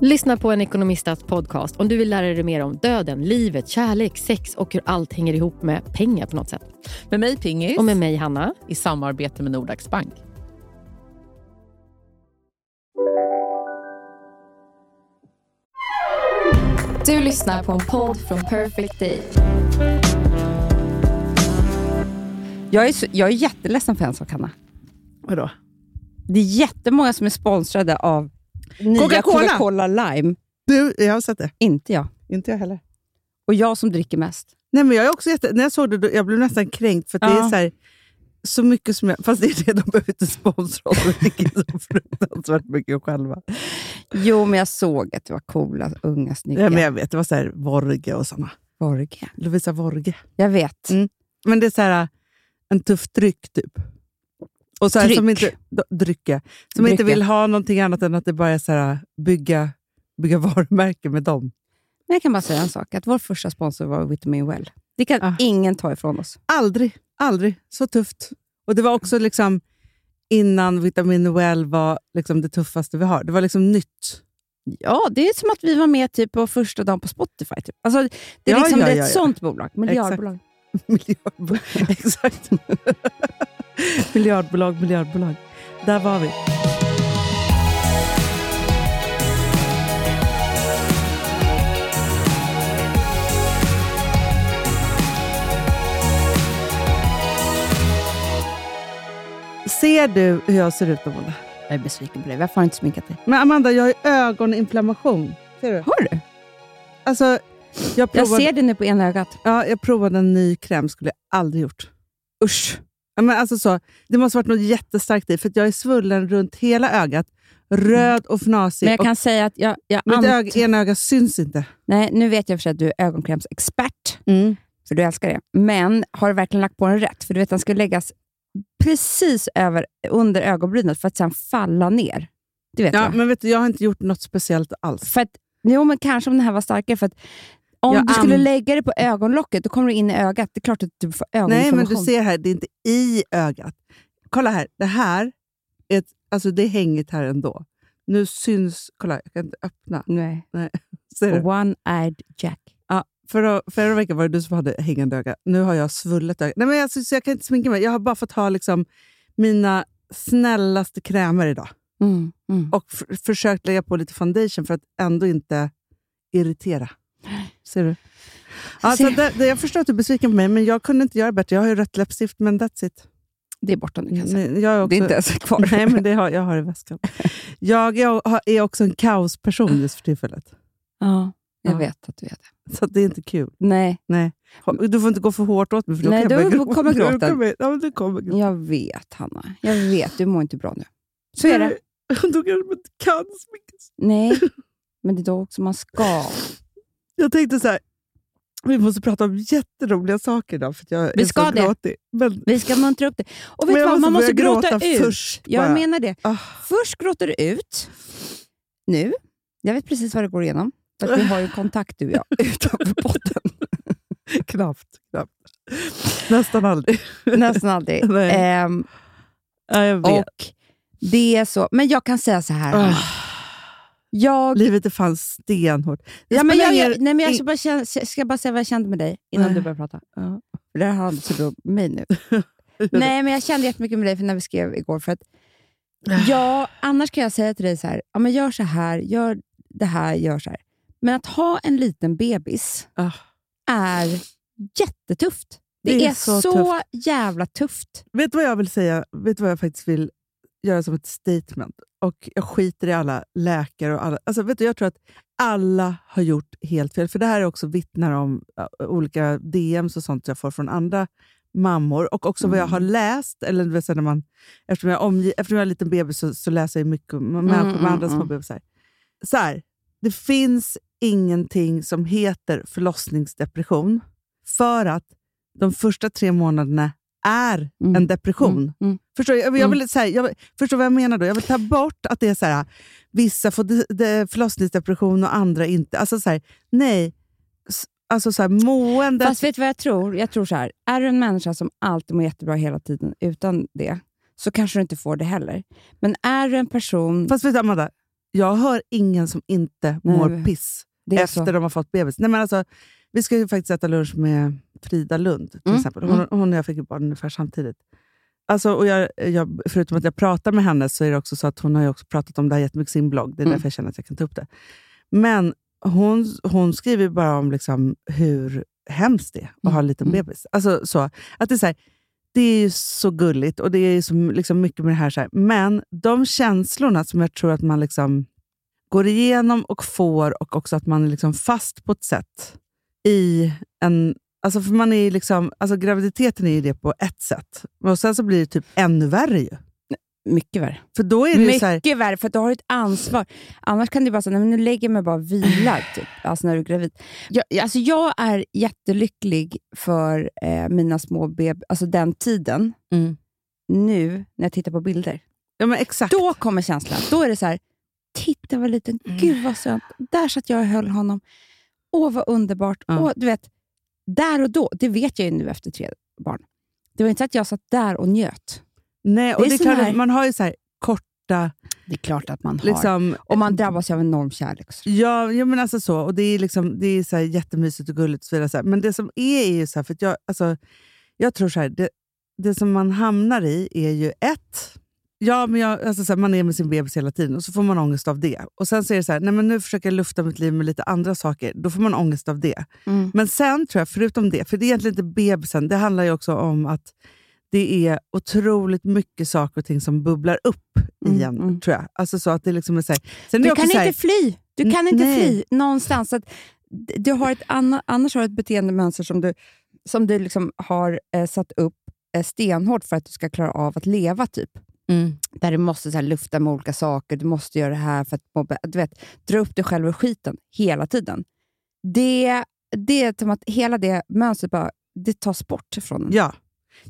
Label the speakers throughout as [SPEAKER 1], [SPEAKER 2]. [SPEAKER 1] Lyssna på en ekonomistats podcast om du vill lära dig mer om döden, livet, kärlek, sex och hur allt hänger ihop med pengar på något sätt.
[SPEAKER 2] Med mig Pingis.
[SPEAKER 1] Och med mig Hanna.
[SPEAKER 2] I samarbete med Nordax Bank.
[SPEAKER 3] Du lyssnar på en podd från Perfect Day.
[SPEAKER 4] Jag är, så, jag är jätteledsen för en sak, Hanna.
[SPEAKER 2] Vadå?
[SPEAKER 4] Det är jättemånga som är sponsrade av nya
[SPEAKER 2] Coca-Cola.
[SPEAKER 4] Coca-Cola Lime.
[SPEAKER 5] Du, jag har sett det.
[SPEAKER 4] Inte jag.
[SPEAKER 5] Inte jag heller.
[SPEAKER 4] Och jag som dricker mest.
[SPEAKER 5] Nej, men jag är också jätte, när jag såg det då, jag blev nästan kränkt, för att det
[SPEAKER 4] Ja.
[SPEAKER 5] är så, här, så mycket som jag... Fast det är det, de behöver inte sponsra oss. Vi dricker så fruktansvärt mycket själva.
[SPEAKER 4] Jo, men jag såg att det var coola, unga, snygga.
[SPEAKER 5] Ja, men jag vet, det var så här, Vorge och såna.
[SPEAKER 4] Borge.
[SPEAKER 5] Lovisa Vorge.
[SPEAKER 4] Jag vet.
[SPEAKER 5] Mm. Men det är så här, en tuff dryck, typ. Och så här,
[SPEAKER 4] Tryck.
[SPEAKER 5] Som, inte, d- drycka, som inte
[SPEAKER 4] Drycka.
[SPEAKER 5] vill ha någonting annat än att det bara är så här, bygga, bygga varumärken med dem.
[SPEAKER 4] Men jag kan bara säga en sak. Att vår första sponsor var Vitamin Well. Det kan
[SPEAKER 5] Ah.
[SPEAKER 4] ingen ta ifrån oss.
[SPEAKER 5] Aldrig, aldrig. Så tufft. Och det var också liksom innan Vitamin Well var liksom det tuffaste vi har. Det var liksom nytt.
[SPEAKER 4] Ja, det är som att vi var med typ på första dagen på Spotify. Typ. Alltså, det är
[SPEAKER 5] Ja,
[SPEAKER 4] liksom
[SPEAKER 5] ja,
[SPEAKER 4] det är
[SPEAKER 5] ja,
[SPEAKER 4] ett
[SPEAKER 5] ja.
[SPEAKER 4] sånt bolag. Miljardbolag.
[SPEAKER 5] Miljardbolag. Exakt. miljardbolag, miljardbolag. Där var vi. Ser du hur jag ser ut, Amanda?
[SPEAKER 4] Jag är besviken på dig. Varför har du inte sminkat dig?
[SPEAKER 5] Men Amanda, jag har ju ögoninflammation. Ser du?
[SPEAKER 4] Har du?
[SPEAKER 5] Alltså, jag
[SPEAKER 4] Jag
[SPEAKER 5] provade,
[SPEAKER 4] ser det nu på ena ögat.
[SPEAKER 5] ja, jag provade en ny kräm, skulle jag aldrig gjort.
[SPEAKER 4] Usch.
[SPEAKER 5] Ja, Men alltså så, det måste varit något jättestarkt i, för att jag är svullen runt hela ögat. Röd och fnasig.
[SPEAKER 4] Mm. Men jag kan säga att jag... jag
[SPEAKER 5] och
[SPEAKER 4] ant-
[SPEAKER 5] mitt öga, ena öga syns inte.
[SPEAKER 4] Nej, nu vet jag för sig att du är ögonkrämsexpert, för du älskar det. Men har du verkligen lagt på den rätt? För du vet, den ska läggas precis över, under ögonbrynet för att sen falla ner. Du vet
[SPEAKER 5] Ja,
[SPEAKER 4] va?
[SPEAKER 5] men vet du, jag har inte gjort något speciellt alls.
[SPEAKER 4] För att, jo, men kanske om den här var starkare. För att om
[SPEAKER 5] Jag
[SPEAKER 4] du skulle
[SPEAKER 5] an-
[SPEAKER 4] lägga det på ögonlocket, då kommer du in i ögat. Det är klart att du får
[SPEAKER 5] Nej,
[SPEAKER 4] ögoninflammation.
[SPEAKER 5] men du ser här, det är inte i ögat. Kolla här, det här är ett, alltså det är hängigt här ändå. Nu syns... Kolla, jag kan inte öppna.
[SPEAKER 4] Nej.
[SPEAKER 5] Ser du?
[SPEAKER 4] One-eyed Jack.
[SPEAKER 5] Ja, förra, förra veckan var det du som hade hängande öga. Nu har jag svullet öga. Nej, men alltså, så jag kan inte sminka mig. Jag har bara fått ha liksom, mina snällaste krämer idag.
[SPEAKER 4] Mm, mm.
[SPEAKER 5] Och f- försökt lägga på lite foundation för att ändå inte irritera. Ser du? Alltså,
[SPEAKER 4] ser.
[SPEAKER 5] det, det, jag förstår att du är besviken på mig, men jag kunde inte göra bättre. Jag har ju rött läppstift, men that's it.
[SPEAKER 4] Det är borta nu kan jag säga.
[SPEAKER 5] Men Jag Mm, är
[SPEAKER 4] Det är inte
[SPEAKER 5] också,
[SPEAKER 4] ens kvar.
[SPEAKER 5] Nej, men det har, jag har i väskan. Jag är, har- är också en kaosperson just för tillfället.
[SPEAKER 4] Ja, jag
[SPEAKER 5] Ja.
[SPEAKER 4] vet att du är det.
[SPEAKER 5] Så att det är inte kul.
[SPEAKER 4] Nej,
[SPEAKER 5] Nej. Du får inte gå för hårt åt mig, för då
[SPEAKER 4] Nej,
[SPEAKER 5] kan jag
[SPEAKER 4] då
[SPEAKER 5] börja
[SPEAKER 4] kommer
[SPEAKER 5] gråta.
[SPEAKER 4] gråten.
[SPEAKER 5] Då kommer- Ja, men då kommer gråten.
[SPEAKER 4] jag vet Hanna. Jag vet, du mår inte bra nu. Så är det.
[SPEAKER 5] Då kanske man inte kan sminkas.
[SPEAKER 4] Nej, men det är då också man ska.
[SPEAKER 5] Jag tänkte så här, vi måste prata om jätteroliga saker idag, för att jag
[SPEAKER 4] Vi
[SPEAKER 5] är
[SPEAKER 4] ska
[SPEAKER 5] så
[SPEAKER 4] det.
[SPEAKER 5] gråtig. Men,
[SPEAKER 4] Vi ska muntra upp det. Och vet
[SPEAKER 5] men
[SPEAKER 4] du
[SPEAKER 5] jag
[SPEAKER 4] vad, man måste
[SPEAKER 5] börja
[SPEAKER 4] gråta, ut.
[SPEAKER 5] först.
[SPEAKER 4] jag
[SPEAKER 5] bara.
[SPEAKER 4] menar det.
[SPEAKER 5] Ah,
[SPEAKER 4] Först gråter du ut. Nu. Jag vet precis vad det går igenom. För att vi har ju kontakt du och jag utanför botten.
[SPEAKER 5] knappt, knappt. Nästan aldrig.
[SPEAKER 4] Nästan aldrig.
[SPEAKER 5] Nej.
[SPEAKER 4] Ehm,
[SPEAKER 5] Ja, jag vet.
[SPEAKER 4] och det är så. Men jag kan säga så här. Hanna.
[SPEAKER 5] Ah,
[SPEAKER 4] Jag,
[SPEAKER 5] livet är fan stenhårt. Det
[SPEAKER 4] ja, men
[SPEAKER 5] spelar
[SPEAKER 4] jag,
[SPEAKER 5] ingen-
[SPEAKER 4] jag, nej, men jag
[SPEAKER 5] i-
[SPEAKER 4] ska bara, känna, ska bara säga vad jag kände med dig innan
[SPEAKER 5] Nej.
[SPEAKER 4] du börjar prata.
[SPEAKER 5] Ja.
[SPEAKER 4] För det här handlar inte så bra om mig nu. Nej, men jag kände jättemycket med dig för när vi skrev igår. För att, ja, annars kan jag säga till dig så här, ja, men gör så här, gör det här, gör så här. Men att ha en liten bebis
[SPEAKER 5] Ah.
[SPEAKER 4] är jättetufft. Det, är, så, jävla tufft.
[SPEAKER 5] Vet du vad jag vill säga? Vet du vad jag faktiskt vill göra som ett statement? Och Jag skiter i alla läkare och alla... Alltså, vet du, jag tror att alla har gjort helt fel. För Det här är också vittnar om äh, olika DMs och sånt jag får från andra mammor och också vad jag har
[SPEAKER 4] Mm.
[SPEAKER 5] läst. Eller, du vet, så här när man, eftersom, jag omge, eftersom jag är en liten bebis så, så läser jag mycket om människor med
[SPEAKER 4] mm,
[SPEAKER 5] andra små
[SPEAKER 4] mm.
[SPEAKER 5] bebisar. Så här, det finns ingenting som heter förlossningsdepression för att de första tre månaderna är
[SPEAKER 4] Mm.
[SPEAKER 5] en depression.
[SPEAKER 4] Mm. Mm.
[SPEAKER 5] Förstår, jag, jag, vill, så här, jag vill- förstår vad jag menar då? Jag vill ta bort att det är så här, vissa får de, de förlossningsdepression och andra inte. Alltså så här, nej. S- Alltså så här, måendet...
[SPEAKER 4] Fast vet du vad jag tror? Jag tror så här. Är du en människa som alltid mår jättebra hela tiden utan det, så kanske du inte får det heller. Men är du en person...
[SPEAKER 5] Fast vet du Amanda, jag hör ingen som inte
[SPEAKER 4] Nej,
[SPEAKER 5] mår
[SPEAKER 4] men-
[SPEAKER 5] piss
[SPEAKER 4] det är
[SPEAKER 5] efter
[SPEAKER 4] så.
[SPEAKER 5] de har fått bebis. Nej, men alltså, vi ska ju faktiskt äta lunch med Frida Lund till
[SPEAKER 4] Mm,
[SPEAKER 5] exempel. Hon, hon och jag fick ju barn ungefär samtidigt. Alltså, och jag, jag, förutom att jag pratar med henne så är det också så att hon har ju också pratat om det här jättemycket i sin blogg. Det är
[SPEAKER 4] Mm.
[SPEAKER 5] därför jag känner att jag kan ta upp det. Men hon, hon skriver ju bara om liksom hur hemskt det är att ha en liten
[SPEAKER 4] Mm.
[SPEAKER 5] bebis. Alltså, så, att det, är så här, det är ju så gulligt och det är ju så liksom, mycket med det här, så här. Men de känslorna som jag tror att man liksom går igenom och får och också att man är liksom fast på ett sätt i en... Alltså för man är ju liksom, alltså graviditeten är ju det på ett sätt. Och sen så blir det typ ännu värre ju.
[SPEAKER 4] Mycket värre.
[SPEAKER 5] För då är det ju så här,
[SPEAKER 4] Mycket värre, för då har du ett ansvar. Annars kan du bara säga, nej men nu lägger jag mig bara och vilar, typ. alltså när du är gravid. Jag, jag- alltså jag är jättelycklig för eh, mina små beb... alltså den tiden.
[SPEAKER 5] Mm.
[SPEAKER 4] Nu, när jag tittar på bilder.
[SPEAKER 5] ja men exakt.
[SPEAKER 4] Då kommer känslan. Då är det så här, titta vad liten, gud vad sönt. Där satt jag och höll honom. Åh, vad underbart.
[SPEAKER 5] Ja.
[SPEAKER 4] Åh, du vet, där och då, det vet jag ju nu efter tre barn. Det var inte så att jag satt där och njöt.
[SPEAKER 5] Nej, och
[SPEAKER 4] Det är
[SPEAKER 5] det är
[SPEAKER 4] sån
[SPEAKER 5] klart
[SPEAKER 4] här-
[SPEAKER 5] att man har ju så här korta...
[SPEAKER 4] Det är klart att man har.
[SPEAKER 5] Liksom,
[SPEAKER 4] Och man drabbas ju av enorm kärlek. Så.
[SPEAKER 5] Ja, ja men alltså så. Och det är, liksom, det är så här jättemysigt och gulligt. Och så vidare, så här. Men det som är, är ju så här, för att jag, alltså, jag tror så här, det, det som man hamnar i är ju ett, ja, men jag, alltså så här, man är med sin bebis hela tiden och så får man ångest av det. Och sen så är det så här, nej men nu försöker jag lufta mitt liv med lite andra saker. Då får man ångest av det.
[SPEAKER 4] Mm.
[SPEAKER 5] Men sen tror jag, förutom det, för det är egentligen inte bebisen, det handlar ju också om att det är otroligt mycket saker och ting som bubblar upp
[SPEAKER 4] Mm,
[SPEAKER 5] igen,
[SPEAKER 4] mm.
[SPEAKER 5] tror jag. Alltså så att det liksom är så här, sen är det
[SPEAKER 4] Du
[SPEAKER 5] också
[SPEAKER 4] kan
[SPEAKER 5] så här,
[SPEAKER 4] inte fly. Du kan
[SPEAKER 5] N-
[SPEAKER 4] inte
[SPEAKER 5] nej.
[SPEAKER 4] fly någonstans. Så Att d- du har ett anna, annars har du ett beteendemönster som du, som du liksom har eh, satt upp eh, stenhårt för att du ska klara av att leva. typ.
[SPEAKER 5] Mm.
[SPEAKER 4] Där du måste så här, lufta med olika saker, du måste göra det här för att må bä- du vet, dra upp dig själv ur skiten hela tiden. Det, det är som att hela det mönstret bara, det tas bort från en.
[SPEAKER 5] Ja,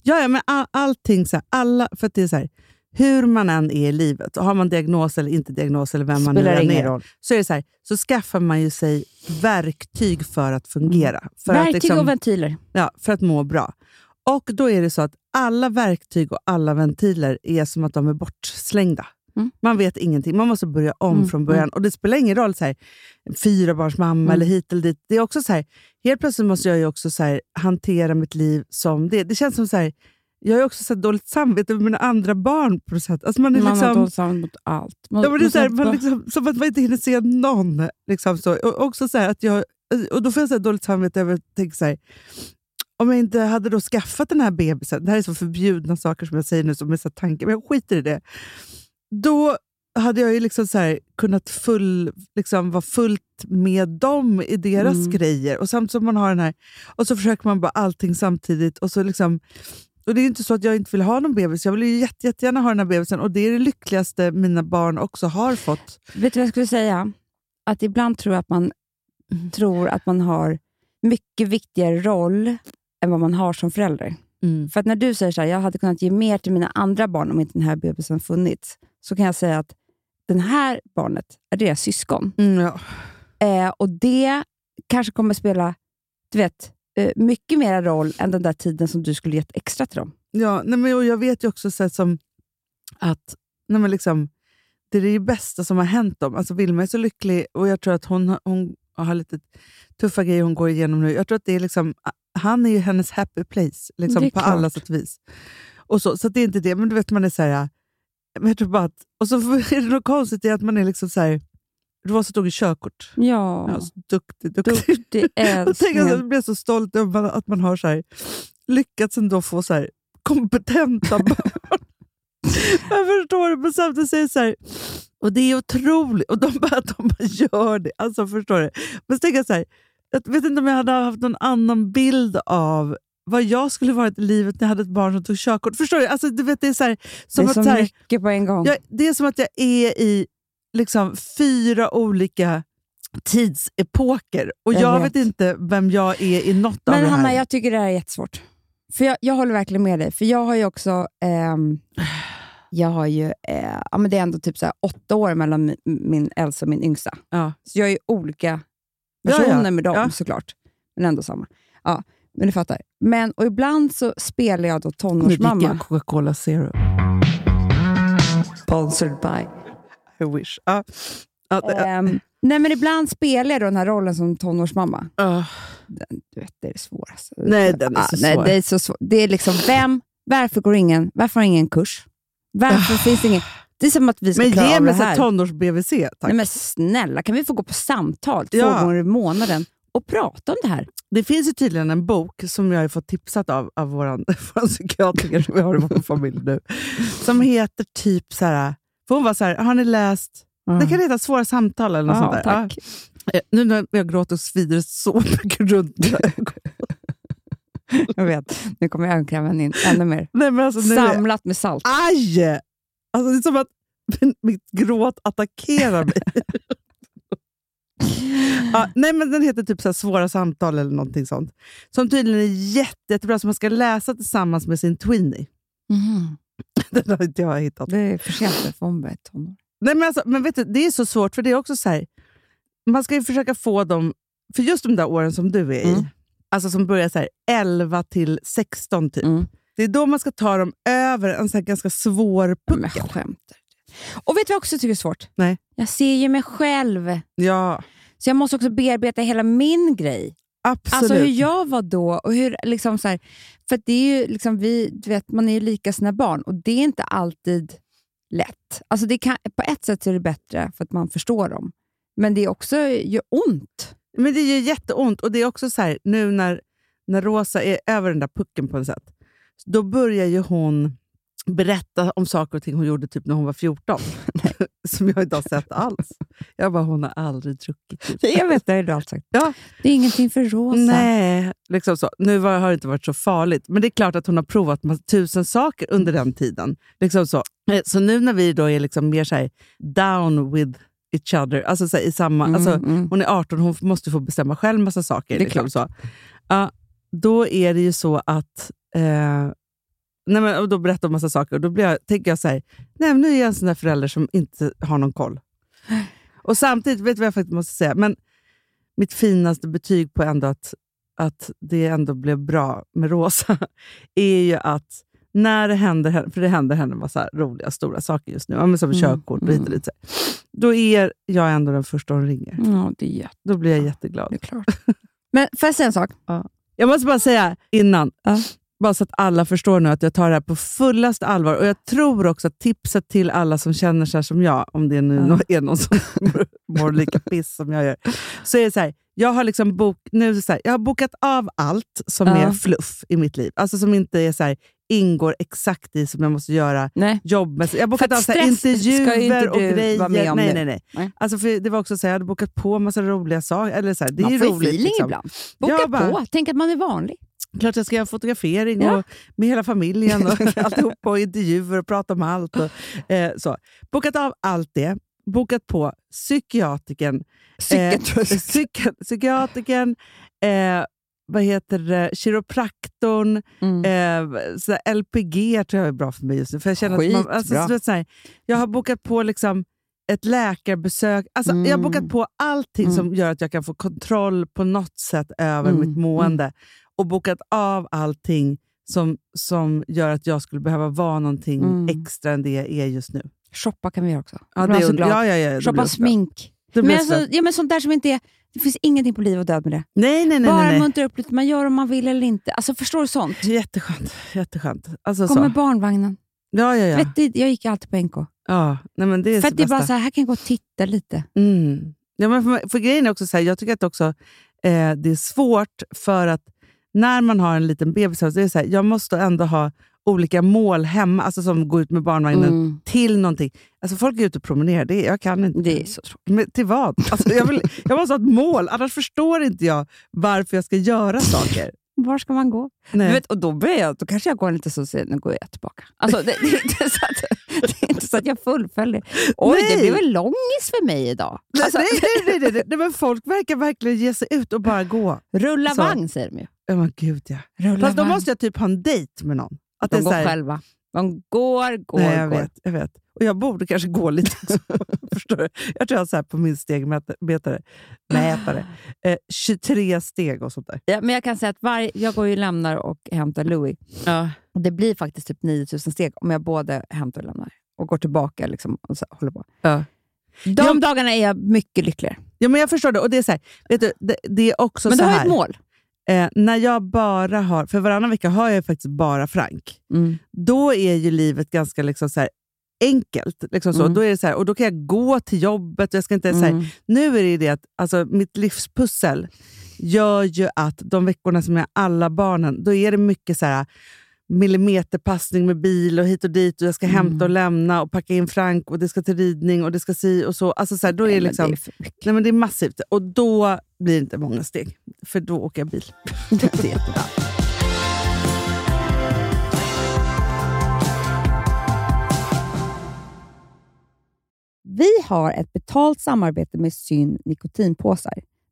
[SPEAKER 5] ja, ja men all, allting så här, alla, för att det är så här, hur man än är i livet, och har man diagnos eller inte diagnos eller vem man nu
[SPEAKER 4] Spelar
[SPEAKER 5] än
[SPEAKER 4] ingen
[SPEAKER 5] är,
[SPEAKER 4] roll.
[SPEAKER 5] så är det så här, så skaffar man ju sig verktyg för att fungera. För
[SPEAKER 4] Verktyg
[SPEAKER 5] att liksom,
[SPEAKER 4] och ventiler.
[SPEAKER 5] Ja, för att må bra. Och då är det så att alla verktyg och alla ventiler är som att de är bortslängda.
[SPEAKER 4] Mm.
[SPEAKER 5] Man vet ingenting. Man måste börja om
[SPEAKER 4] Mm,
[SPEAKER 5] från början. Och det spelar ingen roll, så här, fyrabarnsmamma
[SPEAKER 4] Mm.
[SPEAKER 5] eller hit eller dit. Det är också så här, helt plötsligt måste jag ju också så här, hantera mitt liv som det. Det känns som så här, jag har ju också så här dåligt samvete med mina andra barn på något sätt. Alltså man är
[SPEAKER 4] Man har
[SPEAKER 5] liksom,
[SPEAKER 4] dåligt samvete mot allt. Man,
[SPEAKER 5] ja, men det är så här,
[SPEAKER 4] man-
[SPEAKER 5] man liksom, som att man inte hinner se någon. Liksom så. Och, också så här att jag, och Då får jag så här dåligt samvete över att tänka så här, om jag inte hade då skaffat den här bebisen, det här är så förbjudna saker som jag säger nu, som är så här tankar, men jag skiter i det. Då hade jag ju liksom så här, kunnat full, liksom, vara fullt med dem i deras
[SPEAKER 4] Mm.
[SPEAKER 5] grejer. Och samtidigt som man har den här, och så försöker man bara allting samtidigt. Och så liksom, och Det är ju inte så att jag inte vill ha någon bebis. Jag vill ju jätte, jättegärna ha den här bebisen och det är det lyckligaste mina barn också har fått.
[SPEAKER 4] Vet du vad jag skulle säga? Att ibland tror jag att man tror att man har mycket viktigare roll än vad man har som förälder. För att när du säger så här, jag hade kunnat ge mer till mina andra barn om inte den här bebisen funnits, så kan jag säga att den här barnet är deras syskon.
[SPEAKER 5] Mm, ja.
[SPEAKER 4] Eh, och det kanske kommer spela du vet, eh, mycket mer roll än den där tiden som du skulle gett extra till dem.
[SPEAKER 5] Ja, nej men, och jag vet ju också så här, som att nej men, liksom, det är det bästa som har hänt dem. Alltså, Vilma är så lycklig och jag tror att hon, hon har lite tuffa grejer hon går igenom nu. Jag tror att det är liksom, han är ju hennes happy place liksom,
[SPEAKER 4] Det är
[SPEAKER 5] på alla
[SPEAKER 4] klart.
[SPEAKER 5] sätt och vis. Och så, så att det är inte det, men du vet man är så här... Men jag tror bara att, och så är det något konstigt i att man är liksom så här... Rosa tog ju körkort.
[SPEAKER 4] Ja,
[SPEAKER 5] Ja, så duktig, duktig.
[SPEAKER 4] duktig
[SPEAKER 5] Och tänk att
[SPEAKER 4] älskling.
[SPEAKER 5] jag blir så stolt över man- att man har så här, lyckats ändå få så här, kompetenta barn. jag förstår det, men samtidigt säger jag så här, och det är otroligt. Och de bara, de bara gör det. Alltså förstår du? Men så tänker jag så här, jag vet inte om jag hade haft någon annan bild av vad jag skulle varit i livet när jag hade ett barn som tog körkort. Förstår du? Alltså, du vet, det är så här,
[SPEAKER 4] Det
[SPEAKER 5] som
[SPEAKER 4] är
[SPEAKER 5] att,
[SPEAKER 4] så
[SPEAKER 5] så här,
[SPEAKER 4] mycket på en gång.
[SPEAKER 5] jag, det är som att jag är i liksom fyra olika tidsepoker och
[SPEAKER 4] Jag
[SPEAKER 5] jag,
[SPEAKER 4] vet.
[SPEAKER 5] vet. inte vem jag är i något av
[SPEAKER 4] Men
[SPEAKER 5] det här.
[SPEAKER 4] Hanna, jag tycker det här är jättesvårt. För jag, jag håller verkligen med dig, för jag har ju också... ehm, jag har ju, eh, ja, men det är ändå typ så här åtta år mellan min, min äldsta och min yngsta.
[SPEAKER 5] Ja.
[SPEAKER 4] Så jag är ju olika
[SPEAKER 5] Ja, ja.
[SPEAKER 4] personer med dem
[SPEAKER 5] Ja.
[SPEAKER 4] såklart, men ändå samma. Ja, men du fattar. Men, och ibland så spelar jag då tonårsmamma.
[SPEAKER 5] Coca-Cola Zero.
[SPEAKER 4] Sponsored by. Eh,
[SPEAKER 5] I wish. Ja. Ja, det,
[SPEAKER 4] Ehm, nej, men ibland spelar jag då den här rollen som tonårsmamma.
[SPEAKER 5] ja.
[SPEAKER 4] Du vet, det är det svåraste.
[SPEAKER 5] Nej, den är
[SPEAKER 4] Ah,
[SPEAKER 5] så
[SPEAKER 4] nej,
[SPEAKER 5] svår.
[SPEAKER 4] Det är, så svår. det är liksom, vem, varför går ingen, varför har ingen kurs? Varför finns det ingen? Det är som att vi ska
[SPEAKER 5] Ah. Men
[SPEAKER 4] klara
[SPEAKER 5] ge
[SPEAKER 4] av det
[SPEAKER 5] mig så här
[SPEAKER 4] här.
[SPEAKER 5] tonårs-BVC, tack.
[SPEAKER 4] Nej, men snälla, kan vi få gå på samtal två
[SPEAKER 5] Ja.
[SPEAKER 4] gånger i månaden och prata om det här?
[SPEAKER 5] Det finns ju tydligen en bok som jag har fått tipsat av, av vår våran psykiatriker som vi har i vår familj nu. Som heter typ så här... För hon var så här, har ni läst... Det kan heta Svåra samtal eller något sånt där.
[SPEAKER 4] Ah, tack.
[SPEAKER 5] Ja. Eh, Nu när jag gråter så svider det så mycket runt mina ögon.
[SPEAKER 4] Jag vet, nu kommer ögonkrämen in ännu mer.
[SPEAKER 5] Nej, men alltså, Ah. nu Ah. är det-
[SPEAKER 4] Samlat med salt.
[SPEAKER 5] Aj! Alltså, det är som att min- mitt gråt attackerar mig. ja, nej, men den heter typ så här Svåra samtal eller någonting sånt. Som tydligen är jätte, jättebra, som man ska läsa tillsammans med sin tweenie. Den har inte jag hittat.
[SPEAKER 4] Mm. Det är för sent nu, för hon börjar tonår.
[SPEAKER 5] Nej, men, alltså, men vet du, det är så svårt, för det är också så här, man ska ju försöka få dem, för just de där åren som du är i,
[SPEAKER 4] Mm.
[SPEAKER 5] alltså som börjar så här 11 till 16 typ,
[SPEAKER 4] Mm.
[SPEAKER 5] det är då man ska ta dem över en så här ganska svår
[SPEAKER 4] Men
[SPEAKER 5] puckel.
[SPEAKER 4] skämtar Och vet du vad jag också tycker är svårt?
[SPEAKER 5] Nej.
[SPEAKER 4] Jag ser ju mig själv.
[SPEAKER 5] Ja,
[SPEAKER 4] Så jag måste också bearbeta hela min grej.
[SPEAKER 5] absolut.
[SPEAKER 4] Alltså hur jag var då. Och hur, liksom så här, för att det är ju liksom vi, du vet, man är ju lika sina barn och det är inte alltid lätt. Alltså det kan, på ett sätt så är det bättre för att man förstår dem. Men det är också gör ont.
[SPEAKER 5] Men det gör jätteont. Och det är också så här, nu när, när Rosa är över den där pucken på något sätt, då börjar ju hon berätta om saker och ting hon gjorde typ när hon var 14. Som jag inte har sett alls. Jag bara, hon har aldrig druckit. Typ.
[SPEAKER 4] Jag vet, det har du alltid sagt.
[SPEAKER 5] Ja.
[SPEAKER 4] Det är ingenting för Rosa.
[SPEAKER 5] Nej, liksom så. Nu var, har det inte varit så farligt, men det är klart att hon har provat massa, tusen saker under den tiden. Liksom så. Eh, så nu när vi då är liksom mer så här, down with each other, alltså så här, i samma...
[SPEAKER 4] Mm,
[SPEAKER 5] alltså,
[SPEAKER 4] mm.
[SPEAKER 5] hon är 18, hon måste få bestämma själv massa saker.
[SPEAKER 4] Det är
[SPEAKER 5] liksom så. Ja, då är det ju så att... Eh, nej men, och då berättar hon massa saker och då blir jag, tänker jag så här, nej men nu är jag en sån där förälder som inte har någon koll. Och samtidigt, vet du vad jag faktiskt måste säga? Men mitt finaste betyg på ändå att, att det ändå blev bra med Rosa är ju att när det händer henne, för det händer henne massa roliga stora saker just nu, ja, men som körkort och hit och dit, så här, då är jag ändå den första hon ringer.
[SPEAKER 4] Ja, det är jätte-
[SPEAKER 5] Då blir jag jätteglad.
[SPEAKER 4] det är klart. Men får jag säga en sak?
[SPEAKER 5] Jag måste bara säga innan, bara så att alla förstår nu att jag tar det här på fullaste allvar. Och Jag tror också att tipset till alla som känner sig som jag, om det nu nå- är någon som mår- mår lika piss som jag gör, så är det så här. Jag har, liksom bok, nu är det så här, jag har bokat av allt som
[SPEAKER 4] Ja.
[SPEAKER 5] är fluff i mitt liv. Alltså som inte är så här, ingår exakt i som jag måste göra
[SPEAKER 4] Nej.
[SPEAKER 5] jobbmässigt. Jag har
[SPEAKER 4] För
[SPEAKER 5] bokat
[SPEAKER 4] att
[SPEAKER 5] av så här,
[SPEAKER 4] stress ska ju inte
[SPEAKER 5] intervjuer och
[SPEAKER 4] du
[SPEAKER 5] grejer.
[SPEAKER 4] vara med om
[SPEAKER 5] nej,
[SPEAKER 4] nu.
[SPEAKER 5] nej, nej.
[SPEAKER 4] Nej.
[SPEAKER 5] Alltså för det var också så här, jag hade bokat på massa roliga saker. Eller så här, det är
[SPEAKER 4] man
[SPEAKER 5] ju
[SPEAKER 4] får ju
[SPEAKER 5] roligt,
[SPEAKER 4] feeling
[SPEAKER 5] liksom.
[SPEAKER 4] ibland. Boka
[SPEAKER 5] Jag bara- Eh,
[SPEAKER 4] på, tänk att man är vanlig.
[SPEAKER 5] Klart jag ska göra fotografering
[SPEAKER 4] Ja.
[SPEAKER 5] och med hela familjen och alltihop och intervjuer och prata om allt. Och, eh, så. Bokat av allt det. Bokat på psykiatriken. Eh, psyk- psykiatriken. Eh, vad heter det? Kiropraktorn.
[SPEAKER 4] Mm.
[SPEAKER 5] Eh, så här LPG tror jag är bra för mig just nu. För jag, känner att man,
[SPEAKER 4] Skitbra.
[SPEAKER 5] alltså, så vet, så här, jag har bokat på liksom ett läkarbesök. Alltså, Jag har bokat
[SPEAKER 4] Mm.
[SPEAKER 5] på allting som gör att jag kan få kontroll på något sätt över
[SPEAKER 4] Mm.
[SPEAKER 5] mitt mående. Och bokat av allting som, som gör att jag skulle behöva vara någonting
[SPEAKER 4] Mm.
[SPEAKER 5] extra än det jag är just nu.
[SPEAKER 4] Shoppa kan vi göra också.
[SPEAKER 5] Ja,
[SPEAKER 4] Jag blir
[SPEAKER 5] det,
[SPEAKER 4] så glad.
[SPEAKER 5] ja, ja, ja, det blir
[SPEAKER 4] Shoppa
[SPEAKER 5] jag så glad.
[SPEAKER 4] smink.
[SPEAKER 5] Det blir
[SPEAKER 4] Men,
[SPEAKER 5] jag så
[SPEAKER 4] alltså,
[SPEAKER 5] glad.
[SPEAKER 4] ja, men sånt där som inte är, det finns ingenting på liv och död med det.
[SPEAKER 5] Nej, nej, nej.
[SPEAKER 4] Bara
[SPEAKER 5] nej, nej.
[SPEAKER 4] muntra upp lite, man gör om man vill eller inte. Alltså förstår du sånt?
[SPEAKER 5] Jätteskönt. jätteskönt. Alltså,
[SPEAKER 4] Kommer
[SPEAKER 5] så.
[SPEAKER 4] barnvagnen.
[SPEAKER 5] Ja, ja, ja.
[SPEAKER 4] Vet du, jag gick alltid på NK.
[SPEAKER 5] ja. Nej, men det är
[SPEAKER 4] För
[SPEAKER 5] det
[SPEAKER 4] att det är bara
[SPEAKER 5] bästa.
[SPEAKER 4] så här, här kan jag gå och titta lite.
[SPEAKER 5] Mm. Ja, men för, för grejen är också så här, jag tycker att också, eh, det är svårt för att när man har en liten bebis, så är det så här, jag måste ändå ha olika mål hemma, alltså som går ut med barnvagnen
[SPEAKER 4] Mm.
[SPEAKER 5] till någonting. Alltså folk är ute och promenerar, det, jag kan inte.
[SPEAKER 4] Det är så tråkigt.
[SPEAKER 5] Men till vad? Alltså, jag, vill, jag måste ha ett mål, annars förstår inte jag varför jag ska göra saker.
[SPEAKER 4] Var ska man gå?
[SPEAKER 5] Nej.
[SPEAKER 4] Du vet, och då, börjar jag, då kanske jag går lite så och säger, nu går jag tillbaka. Alltså, det, det, är inte så att, det är inte så att jag fullföljer. Oj,
[SPEAKER 5] Nej.
[SPEAKER 4] det blev en långis för mig idag. Alltså,
[SPEAKER 5] nej, nej, nej, nej, nej, nej, men folk verkar verkligen ge sig ut och bara gå.
[SPEAKER 4] rulla
[SPEAKER 5] så.
[SPEAKER 4] vagn säger de ju.
[SPEAKER 5] Ja, men gud ja.
[SPEAKER 4] Rullar
[SPEAKER 5] Fast då
[SPEAKER 4] varmt.
[SPEAKER 5] måste jag typ ha en dejt med någon. Att
[SPEAKER 4] De
[SPEAKER 5] det är
[SPEAKER 4] går
[SPEAKER 5] så här-
[SPEAKER 4] själva. De går, går,
[SPEAKER 5] Nej, jag
[SPEAKER 4] går.
[SPEAKER 5] vet, jag vet. Och jag borde kanske gå lite också. Förstår du? Jag tror jag har så här på min stegmätare, mätare,
[SPEAKER 4] Ah.
[SPEAKER 5] eh, 23 steg och sånt där.
[SPEAKER 4] Ja, men jag kan säga att varje, jag går ju och lämnar och hämtar Louis. Och det blir faktiskt typ 9000 steg om jag både hämtar och lämnar. Och går tillbaka liksom och så håller på.
[SPEAKER 5] Ja.
[SPEAKER 4] De
[SPEAKER 5] Ja.
[SPEAKER 4] dagarna är jag mycket lyckligare.
[SPEAKER 5] Ja, men jag förstår det. Och det är så här, vet du, det, det är också
[SPEAKER 4] men
[SPEAKER 5] så
[SPEAKER 4] du har ju
[SPEAKER 5] här.
[SPEAKER 4] ett mål.
[SPEAKER 5] Eh, när jag bara har, för varannan vecka har jag ju faktiskt bara Frank.
[SPEAKER 4] Mm.
[SPEAKER 5] Då är ju livet ganska liksom så här enkelt. Liksom så.
[SPEAKER 4] Mm.
[SPEAKER 5] Då är det så här, och då kan jag gå till jobbet. Och jag ska inte så här,
[SPEAKER 4] Mm.
[SPEAKER 5] Nu är det ju det att alltså, mitt livspussel gör ju att de veckorna som jag har alla barnen, då är det mycket så här millimeterpassning med bil och hit och dit och jag ska
[SPEAKER 4] Mm.
[SPEAKER 5] hämta och lämna och packa in Frank och det ska till ridning och det ska si och så. Alltså så här, då är det
[SPEAKER 4] Nej, men
[SPEAKER 5] liksom...
[SPEAKER 4] det är för mycket.
[SPEAKER 5] Nej, men det är massivt. Och då blir det inte många steg, för då åker jag bil. det är jättebra.
[SPEAKER 4] Vi har ett betalt samarbete med Syn nikotinpåsar.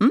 [SPEAKER 4] Mm.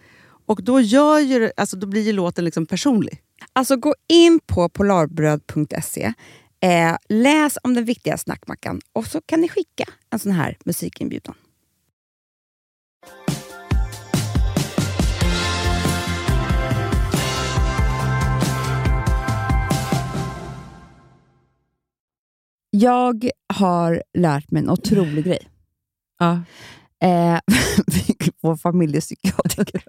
[SPEAKER 5] Och då, gör ju, det- alltså, då blir ju låten liksom personlig.
[SPEAKER 4] Alltså gå in på polarbröd.se, eh, läs om den viktiga snackmackan och så kan ni skicka en sån här musikinbjudan. Jag har lärt mig en otrolig grej.
[SPEAKER 5] Ja.
[SPEAKER 4] Eh, vår familjepsykiatriker.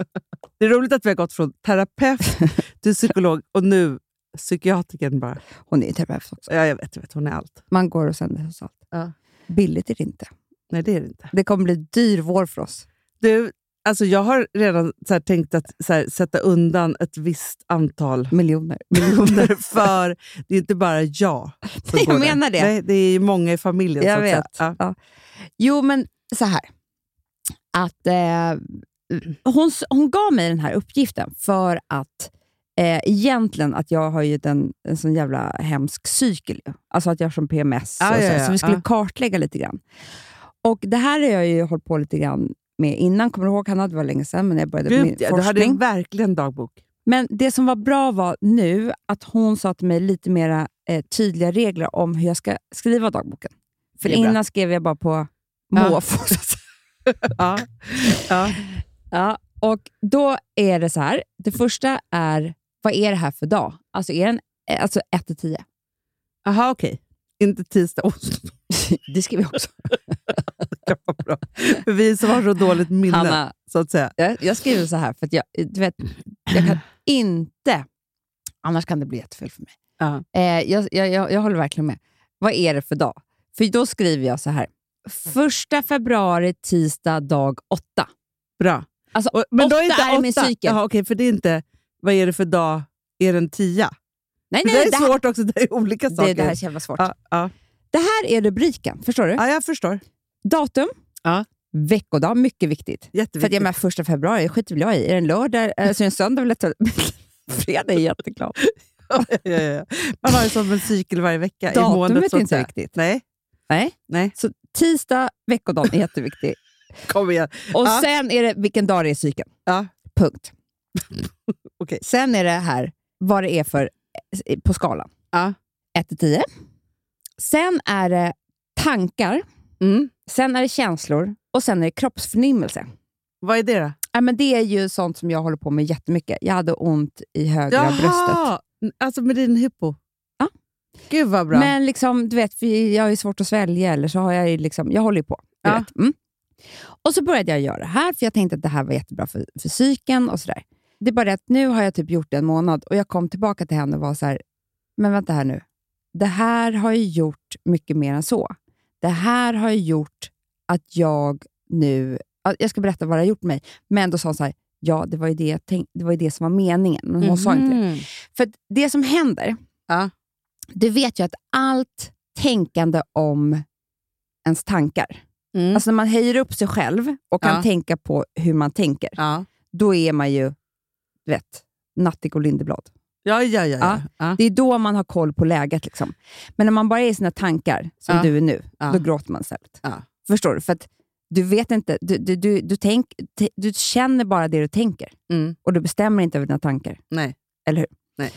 [SPEAKER 5] Det är roligt att vi har gått från terapeut till psykolog och nu psykiatrikern bara.
[SPEAKER 4] Hon är ju terapeut också.
[SPEAKER 5] Ja, jag vet, jag vet, hon är allt.
[SPEAKER 4] Man går och sänder hos allt.
[SPEAKER 5] Ja.
[SPEAKER 4] Billigt är det inte.
[SPEAKER 5] Nej, det är det inte.
[SPEAKER 4] Det kommer bli dyr vår för oss.
[SPEAKER 5] Du, alltså, jag har redan så här, tänkt att så här, sätta undan ett visst antal
[SPEAKER 4] Miljoner.
[SPEAKER 5] miljoner för det är inte bara jag som
[SPEAKER 4] Nej, jag
[SPEAKER 5] går där.
[SPEAKER 4] menar det.
[SPEAKER 5] Nej, det är ju många i familjen.
[SPEAKER 4] Jag
[SPEAKER 5] så att säga.
[SPEAKER 4] vet.
[SPEAKER 5] Ja.
[SPEAKER 4] Ja. Jo, men så här. Att, eh, hon, s- hon gav mig den här uppgiften för att eh, egentligen att jag har ju den, en sån jävla hemsk cykel. ju. Alltså att jag har som PMS.
[SPEAKER 5] Ah,
[SPEAKER 4] och så,
[SPEAKER 5] ja,
[SPEAKER 4] här,
[SPEAKER 5] ja,
[SPEAKER 4] så vi skulle
[SPEAKER 5] ja.
[SPEAKER 4] kartlägga lite grann. Och Det här har jag ju hållit på lite grann med innan. Kommer du ihåg Hanna? Det var länge sedan, men jag började med
[SPEAKER 5] Gud,
[SPEAKER 4] min
[SPEAKER 5] ja, du
[SPEAKER 4] forskning.
[SPEAKER 5] hade ju verkligen dagbok.
[SPEAKER 4] Men det som var bra var nu att hon sa till mig lite mera eh, tydliga regler om hur jag ska skriva dagboken. För
[SPEAKER 5] Det är bra.
[SPEAKER 4] innan skrev jag bara på
[SPEAKER 5] Ja.
[SPEAKER 4] måfå. så att säga.
[SPEAKER 5] Ja. Ja.
[SPEAKER 4] Ja, och då är det så här. Det första är, vad är det här för dag? Alltså, är den, eh, alltså 1 till 10.
[SPEAKER 5] Aha, okej. Inte tisdag. Oh,
[SPEAKER 4] Det skriver jag också.
[SPEAKER 5] det var bra. För vi som har så dåligt minne,
[SPEAKER 4] Hanna,
[SPEAKER 5] så att säga.
[SPEAKER 4] jag, jag skriver så här för att jag, du vet, jag kan inte... Annars kan det bli jättefel för mig.
[SPEAKER 5] Ja.
[SPEAKER 4] Eh, jag, jag, jag, jag håller verkligen med. Vad är det för dag? För då skriver jag så här.
[SPEAKER 5] Mm.
[SPEAKER 4] Första februari, tisdag, dag åtta.
[SPEAKER 5] Bra.
[SPEAKER 4] Alltså,
[SPEAKER 5] Och-
[SPEAKER 4] åtta är min cykel.
[SPEAKER 5] Jaha, okej, för det är inte, vad är det för dag? Är det en tia?
[SPEAKER 4] Nej,
[SPEAKER 5] det
[SPEAKER 4] nej,
[SPEAKER 5] är
[SPEAKER 4] det, här,
[SPEAKER 5] svårt också, det är olika saker.
[SPEAKER 4] det, det här är så jävla svårt.
[SPEAKER 5] ja, ja.
[SPEAKER 4] Det här är rubriken, förstår du?
[SPEAKER 5] ja, jag förstår.
[SPEAKER 4] Datum,
[SPEAKER 5] Ja.
[SPEAKER 4] veckodag, mycket viktigt. För att
[SPEAKER 5] Jätteviktigt.
[SPEAKER 4] jag menar, första februari, skiter väl jag i. Är det en lördag? Alltså är det en söndag? Vill jag ta... Fredag är jätteglad.
[SPEAKER 5] ja, ja, ja. Man har ju som en cykel varje vecka i månadet.
[SPEAKER 4] Datumet
[SPEAKER 5] så
[SPEAKER 4] är
[SPEAKER 5] att
[SPEAKER 4] inte
[SPEAKER 5] säga.
[SPEAKER 4] viktigt.
[SPEAKER 5] Nej,
[SPEAKER 4] Nej.
[SPEAKER 5] nej.
[SPEAKER 4] Så tisdag, veckodagen är jätteviktig.
[SPEAKER 5] Kom igen.
[SPEAKER 4] Och
[SPEAKER 5] Ja.
[SPEAKER 4] sen är det vilken dag det är i cykeln.
[SPEAKER 5] Ja.
[SPEAKER 4] Punkt.
[SPEAKER 5] Okej.
[SPEAKER 4] Sen är det här vad det är för eh, på skalan.
[SPEAKER 5] Ja.
[SPEAKER 4] 1 till 10. Sen är det tankar,
[SPEAKER 5] Mm.
[SPEAKER 4] sen är det känslor och sen är det kroppsförnimmelse.
[SPEAKER 5] Vad är det då?
[SPEAKER 4] Ja, men det är ju sånt som jag håller på med jättemycket. Jag hade ont i högra bröstet.
[SPEAKER 5] Alltså med din hypo?
[SPEAKER 4] Ja.
[SPEAKER 5] Gud vad bra.
[SPEAKER 4] Men liksom, du vet, för jag har ju svårt att svälja, eller så har jag ju liksom, jag håller ju på. Du
[SPEAKER 5] Ja.
[SPEAKER 4] vet. Mm. Och så började jag göra det här, för jag tänkte att det här var jättebra för, för psyken och sådär. Det är bara det att nu har jag typ gjort det en månad och jag kom tillbaka till henne och var så här, men vänta här nu. Det här har ju gjort mycket mer än så. Det här har ju gjort att jag nu, ja, jag ska berätta vad det har gjort mig, men då sa hon så här, ja det var ju det, jag tänk, det, var ju det som var meningen, men hon sa
[SPEAKER 5] Mhm.
[SPEAKER 4] inte det. För att det som händer,
[SPEAKER 5] Ja.
[SPEAKER 4] du vet ju att allt tänkande om ens tankar,
[SPEAKER 5] Mm.
[SPEAKER 4] alltså när man höjer upp sig själv och kan
[SPEAKER 5] Ja.
[SPEAKER 4] tänka på hur man tänker,
[SPEAKER 5] ja.
[SPEAKER 4] då är man ju, du vet, Natthik och Lindeblad.
[SPEAKER 5] Ja, ja, ja.
[SPEAKER 4] Ja.
[SPEAKER 5] ja. ja.
[SPEAKER 4] Det är då man har koll på läget. Liksom. Men när man bara är i sina tankar, som
[SPEAKER 5] Ja.
[SPEAKER 4] du är nu,
[SPEAKER 5] Ja.
[SPEAKER 4] då gråter man istället.
[SPEAKER 5] Ja.
[SPEAKER 4] Förstår du? För att du vet inte, du, du, du, du, tänk, te- du känner bara det du tänker
[SPEAKER 5] Mm.
[SPEAKER 4] och du bestämmer inte över dina tankar.
[SPEAKER 5] Nej.
[SPEAKER 4] Eller hur?
[SPEAKER 5] Nej.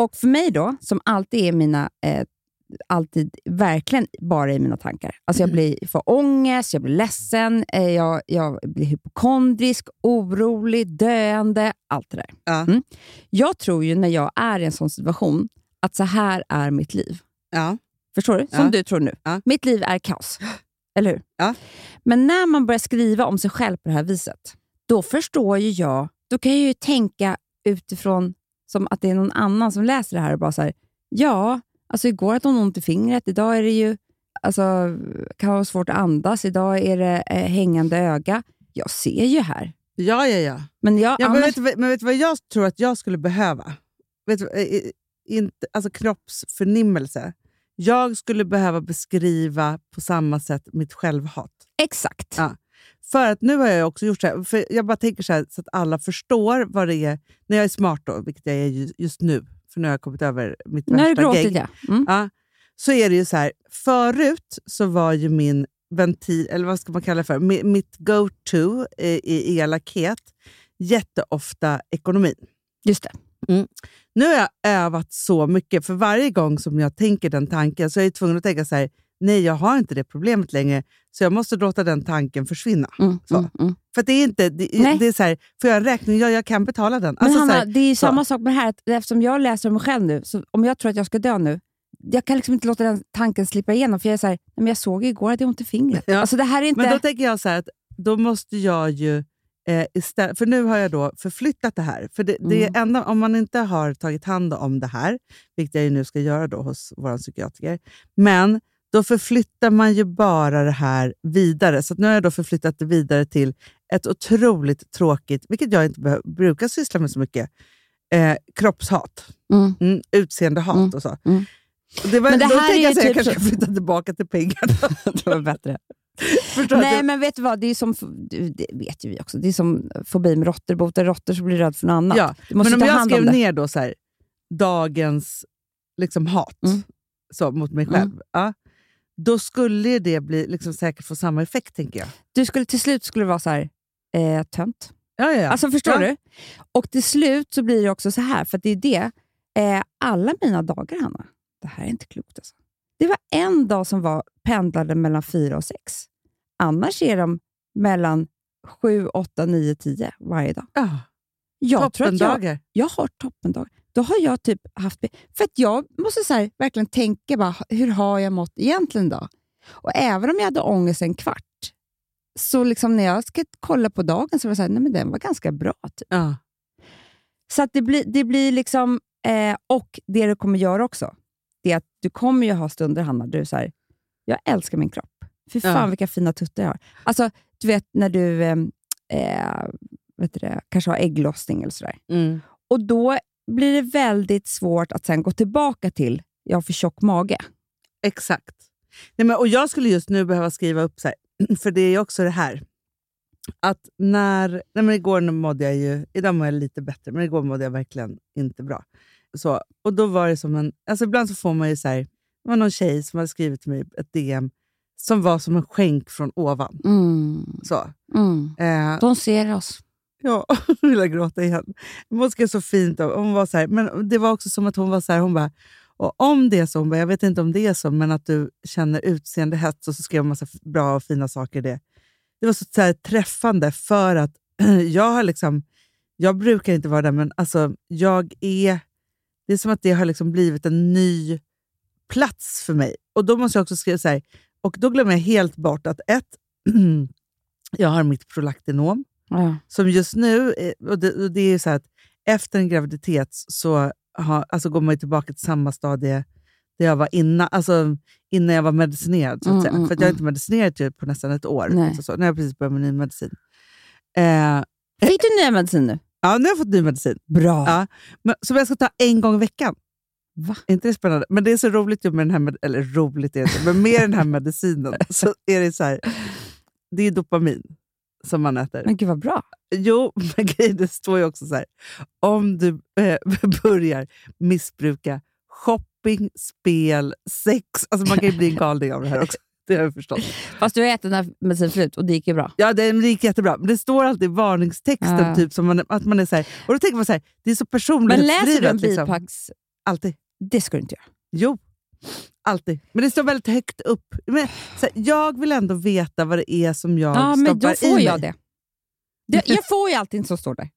[SPEAKER 4] Och för mig då, som alltid är mina, eh, alltid verkligen bara i mina tankar. Alltså jag blir för ångest, jag blir ledsen, eh, jag, jag blir hypokondrisk, orolig, döende, allt det där.
[SPEAKER 5] Ja.
[SPEAKER 4] Mm. Jag tror ju när jag är i en sån situation att så här är mitt liv.
[SPEAKER 5] Ja.
[SPEAKER 4] Förstår du? Som
[SPEAKER 5] Ja.
[SPEAKER 4] du tror nu.
[SPEAKER 5] Ja.
[SPEAKER 4] Mitt liv är kaos. Eller hur?
[SPEAKER 5] Ja.
[SPEAKER 4] Men när man börjar skriva om sig själv på det här viset, då förstår ju jag, då kan jag ju tänka utifrån som att det är någon annan som läser det här och bara så här, ja, alltså igår hade hon ont i fingret, idag är det ju, alltså kan ha svårt att andas, idag är det eh, hängande öga. Jag ser ju här
[SPEAKER 5] Ja, ja, ja.
[SPEAKER 4] Men jag,
[SPEAKER 5] ja men,
[SPEAKER 4] annars,
[SPEAKER 5] vet, du vad- men vet du vad jag tror att jag skulle behöva? Vet du, vad- eh, eh, inte, alltså kroppsförnimmelse. Jag skulle behöva beskriva på samma sätt mitt självhat.
[SPEAKER 4] exakt.
[SPEAKER 5] Ja. För att nu har jag också gjort så här, för jag bara tänker så här så att alla förstår vad det är, när jag är smart då, vilket jag är ju- just nu, för nu har jag kommit över mitt
[SPEAKER 4] Nu har du
[SPEAKER 5] värsta
[SPEAKER 4] gråtit,
[SPEAKER 5] gäng.
[SPEAKER 4] ja. Mm.
[SPEAKER 5] Ja, så är det ju så här, förut så var ju min ventil, eller vad ska man kalla det för, mi- mitt go-to i, i elakhet jätteofta ekonomin.
[SPEAKER 4] Just det.
[SPEAKER 5] Nu har jag övat så mycket, för varje gång som jag tänker den tanken så är jag tvungen att tänka så här, nej jag har inte det problemet längre, så jag måste låta den tanken försvinna.
[SPEAKER 4] Mm,
[SPEAKER 5] Så.
[SPEAKER 4] mm, mm.
[SPEAKER 5] För att det är inte, det,
[SPEAKER 4] Nej.
[SPEAKER 5] det är så här, får jag en räkning? Ja, jag kan betala den.
[SPEAKER 4] Men
[SPEAKER 5] Alltså,
[SPEAKER 4] Hanna,
[SPEAKER 5] så här,
[SPEAKER 4] det är ju
[SPEAKER 5] så.
[SPEAKER 4] samma sak med det här, att eftersom jag läser om mig själv nu, så om jag tror att jag ska dö nu, jag kan liksom inte låta den tanken slippa igenom, för jag är så här, "Nej, men jag såg ju igår att jag har ont i fingret.
[SPEAKER 5] Ja.
[SPEAKER 4] Alltså det här är inte...
[SPEAKER 5] men då tänker jag så här, att då måste jag ju eh, istället, för nu har jag då förflyttat det här. För det, det
[SPEAKER 4] Mm.
[SPEAKER 5] är enda, om man inte har tagit hand om det här, vilket jag ju nu ska göra då hos vår psykiatriker, men då förflyttar man ju bara det här vidare. Så att nu har jag då förflyttat det vidare till ett otroligt tråkigt, vilket jag inte behö- brukar syssla med så mycket, eh, kroppshat.
[SPEAKER 4] Mm.
[SPEAKER 5] Mm, utseendehat
[SPEAKER 4] Mm,
[SPEAKER 5] och så.
[SPEAKER 4] mm.
[SPEAKER 5] Det var,
[SPEAKER 4] Men det
[SPEAKER 5] då
[SPEAKER 4] här
[SPEAKER 5] tänker
[SPEAKER 4] är
[SPEAKER 5] jag
[SPEAKER 4] ju
[SPEAKER 5] så här, jag
[SPEAKER 4] typ
[SPEAKER 5] kanske flyttar tillbaka till pengarna.
[SPEAKER 4] det var bättre.
[SPEAKER 5] Förstår du?
[SPEAKER 4] Nej, men vet du vad? Det är som, du, det vet ju vi också, det är som fobi med råttor. Botar råttor så blir du rädd för något annat.
[SPEAKER 5] Ja,
[SPEAKER 4] du måste
[SPEAKER 5] men
[SPEAKER 4] ta
[SPEAKER 5] om jag
[SPEAKER 4] hand om
[SPEAKER 5] skrev
[SPEAKER 4] det.
[SPEAKER 5] ner då så här, dagens liksom hat
[SPEAKER 4] Mm.
[SPEAKER 5] så, mot mig själv, ja, då skulle det bli liksom säkert få samma effekt, tänker jag.
[SPEAKER 4] Du skulle, till slut skulle det vara så här, eh, tönt.
[SPEAKER 5] Ja, ja, ja.
[SPEAKER 4] Alltså förstår
[SPEAKER 5] Ja.
[SPEAKER 4] du? Och till slut så blir det också så här, för att det är det. Eh, alla mina dagar, Hanna, det här är inte klokt alltså. Det var en dag som var pendlade mellan fyra och sex. Annars är de mellan sju, åtta, nio, tio varje dag.
[SPEAKER 5] ja.
[SPEAKER 4] Jag tror att jag,
[SPEAKER 5] Toppendagar.
[SPEAKER 4] jag har toppendag. Då har jag typ haft... För att jag måste så här, verkligen tänka, bara, hur har jag mått egentligen då? Och även om jag hade ångest en kvart, så liksom när jag ska kolla på dagen så var jag så här, nej men den var ganska bra. Typ.
[SPEAKER 5] Ja.
[SPEAKER 4] Så att det blir, det blir liksom... Eh, och det du kommer göra också, det är att du kommer ju ha stunder, Hanna, där du så här, jag älskar min kropp. Fy fan
[SPEAKER 5] Ja.
[SPEAKER 4] vilka fina tuttar jag har. Alltså, du vet när du eh, eh, vet du det, kanske har ägglossning eller sådär.
[SPEAKER 5] Mm.
[SPEAKER 4] Och då blir det väldigt svårt att sen gå tillbaka till jag har för tjock mage.
[SPEAKER 5] Exakt. Nej, men, och Jag skulle just nu behöva skriva upp, så här, för det är ju också det här. Att när, nej men igår mådde jag ju, idag mår jag lite bättre, men igår mådde jag verkligen inte bra. Så, och då var det som en, alltså ibland så får man ju så här, det var någon tjej som hade skrivit till mig ett DM som var som en skänk från ovan. Så. Eh,
[SPEAKER 4] De ser oss.
[SPEAKER 5] Ja, nu vill jag gråta igen. Men Hon skrev så fint. om- Hon var så här, men det var också som att hon var så här, hon bara, och om det är så, hon bara, jag vet inte om det är så, men att du känner utseendehets och så skrev hon massa f- bra och fina saker i det. Det var så, så här, träffande för att jag har liksom, jag brukar inte vara där, men alltså jag är, det är som att det har liksom blivit en ny plats för mig. Och då måste jag också skriva så här, och då glömmer jag helt bort att ett, jag har mitt prolaktinom, som just nu, eh, och det, och det är ju så här att efter en graviditet så har, alltså går man ju tillbaka till samma stadie där jag var innan, alltså innan jag var medicinerad. Så att
[SPEAKER 4] Mm,
[SPEAKER 5] säga.
[SPEAKER 4] mm,
[SPEAKER 5] För att jag har
[SPEAKER 4] mm.
[SPEAKER 5] inte medicinerat typ på nästan ett år.
[SPEAKER 4] Nej.
[SPEAKER 5] Alltså så, nu har jag precis börjat med ny medicin. Eh,
[SPEAKER 4] Fick du nya medicin nu?
[SPEAKER 5] ja, nu har jag fått ny medicin.
[SPEAKER 4] Bra.
[SPEAKER 5] Ja. Men, som jag ska ta en gång i veckan.
[SPEAKER 4] Va?
[SPEAKER 5] Är inte det spännande? Men det är så roligt ju med den här, med, eller roligt är det inte, men med den här medicinen så är det så här, det är dopamin som man äter.
[SPEAKER 4] Men gud vad bra.
[SPEAKER 5] Jo, men grejen, det står ju också så här. Om du eh, börjar missbruka shopping, spel, sex. Alltså man kan ju bli en galning av det här också. Det har jag förstått.
[SPEAKER 4] Fast du har ätit den här medicinen förut och det gick ju bra.
[SPEAKER 5] Ja, det det gick jättebra. Men det står alltid i varningstexten
[SPEAKER 4] Ja.
[SPEAKER 5] typ, som man, att man är så här. Och då tänker man så här, det är så
[SPEAKER 4] Men läser du
[SPEAKER 5] personlighetsdrivet.
[SPEAKER 4] en
[SPEAKER 5] Liksom.
[SPEAKER 4] bipacks...
[SPEAKER 5] Alltid.
[SPEAKER 4] Det ska du inte göra.
[SPEAKER 5] Jo, alltid. Men det står väldigt högt upp. Men, så här, jag vill ändå veta vad det är som jag
[SPEAKER 4] Ja,
[SPEAKER 5] stoppar
[SPEAKER 4] men då
[SPEAKER 5] i
[SPEAKER 4] får jag
[SPEAKER 5] mig.
[SPEAKER 4] det. det. Jag får ju allting som står där.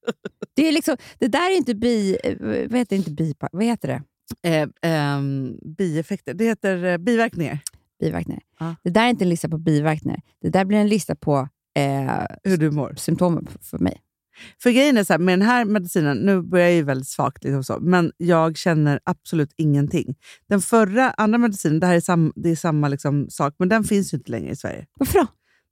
[SPEAKER 4] Det, är liksom, det där är inte bi... eh, Vad heter det? Inte bipa, vad heter det?
[SPEAKER 5] Eh, ehm, bieffekter. Det heter eh, biverkningar.
[SPEAKER 4] Biverkningar.
[SPEAKER 5] Ja.
[SPEAKER 4] Det där är inte en lista på biverkningar. Det där blir en lista på eh,
[SPEAKER 5] Hur du mår.
[SPEAKER 4] symptomen f- för mig.
[SPEAKER 5] För grejen är så här, med den här medicinen, nu börjar jag ju väldigt svagt, liksom så, men jag känner absolut ingenting. Den förra, andra medicinen, det här är, sam, det är samma liksom sak, men den finns ju inte längre i Sverige.
[SPEAKER 4] Varför då?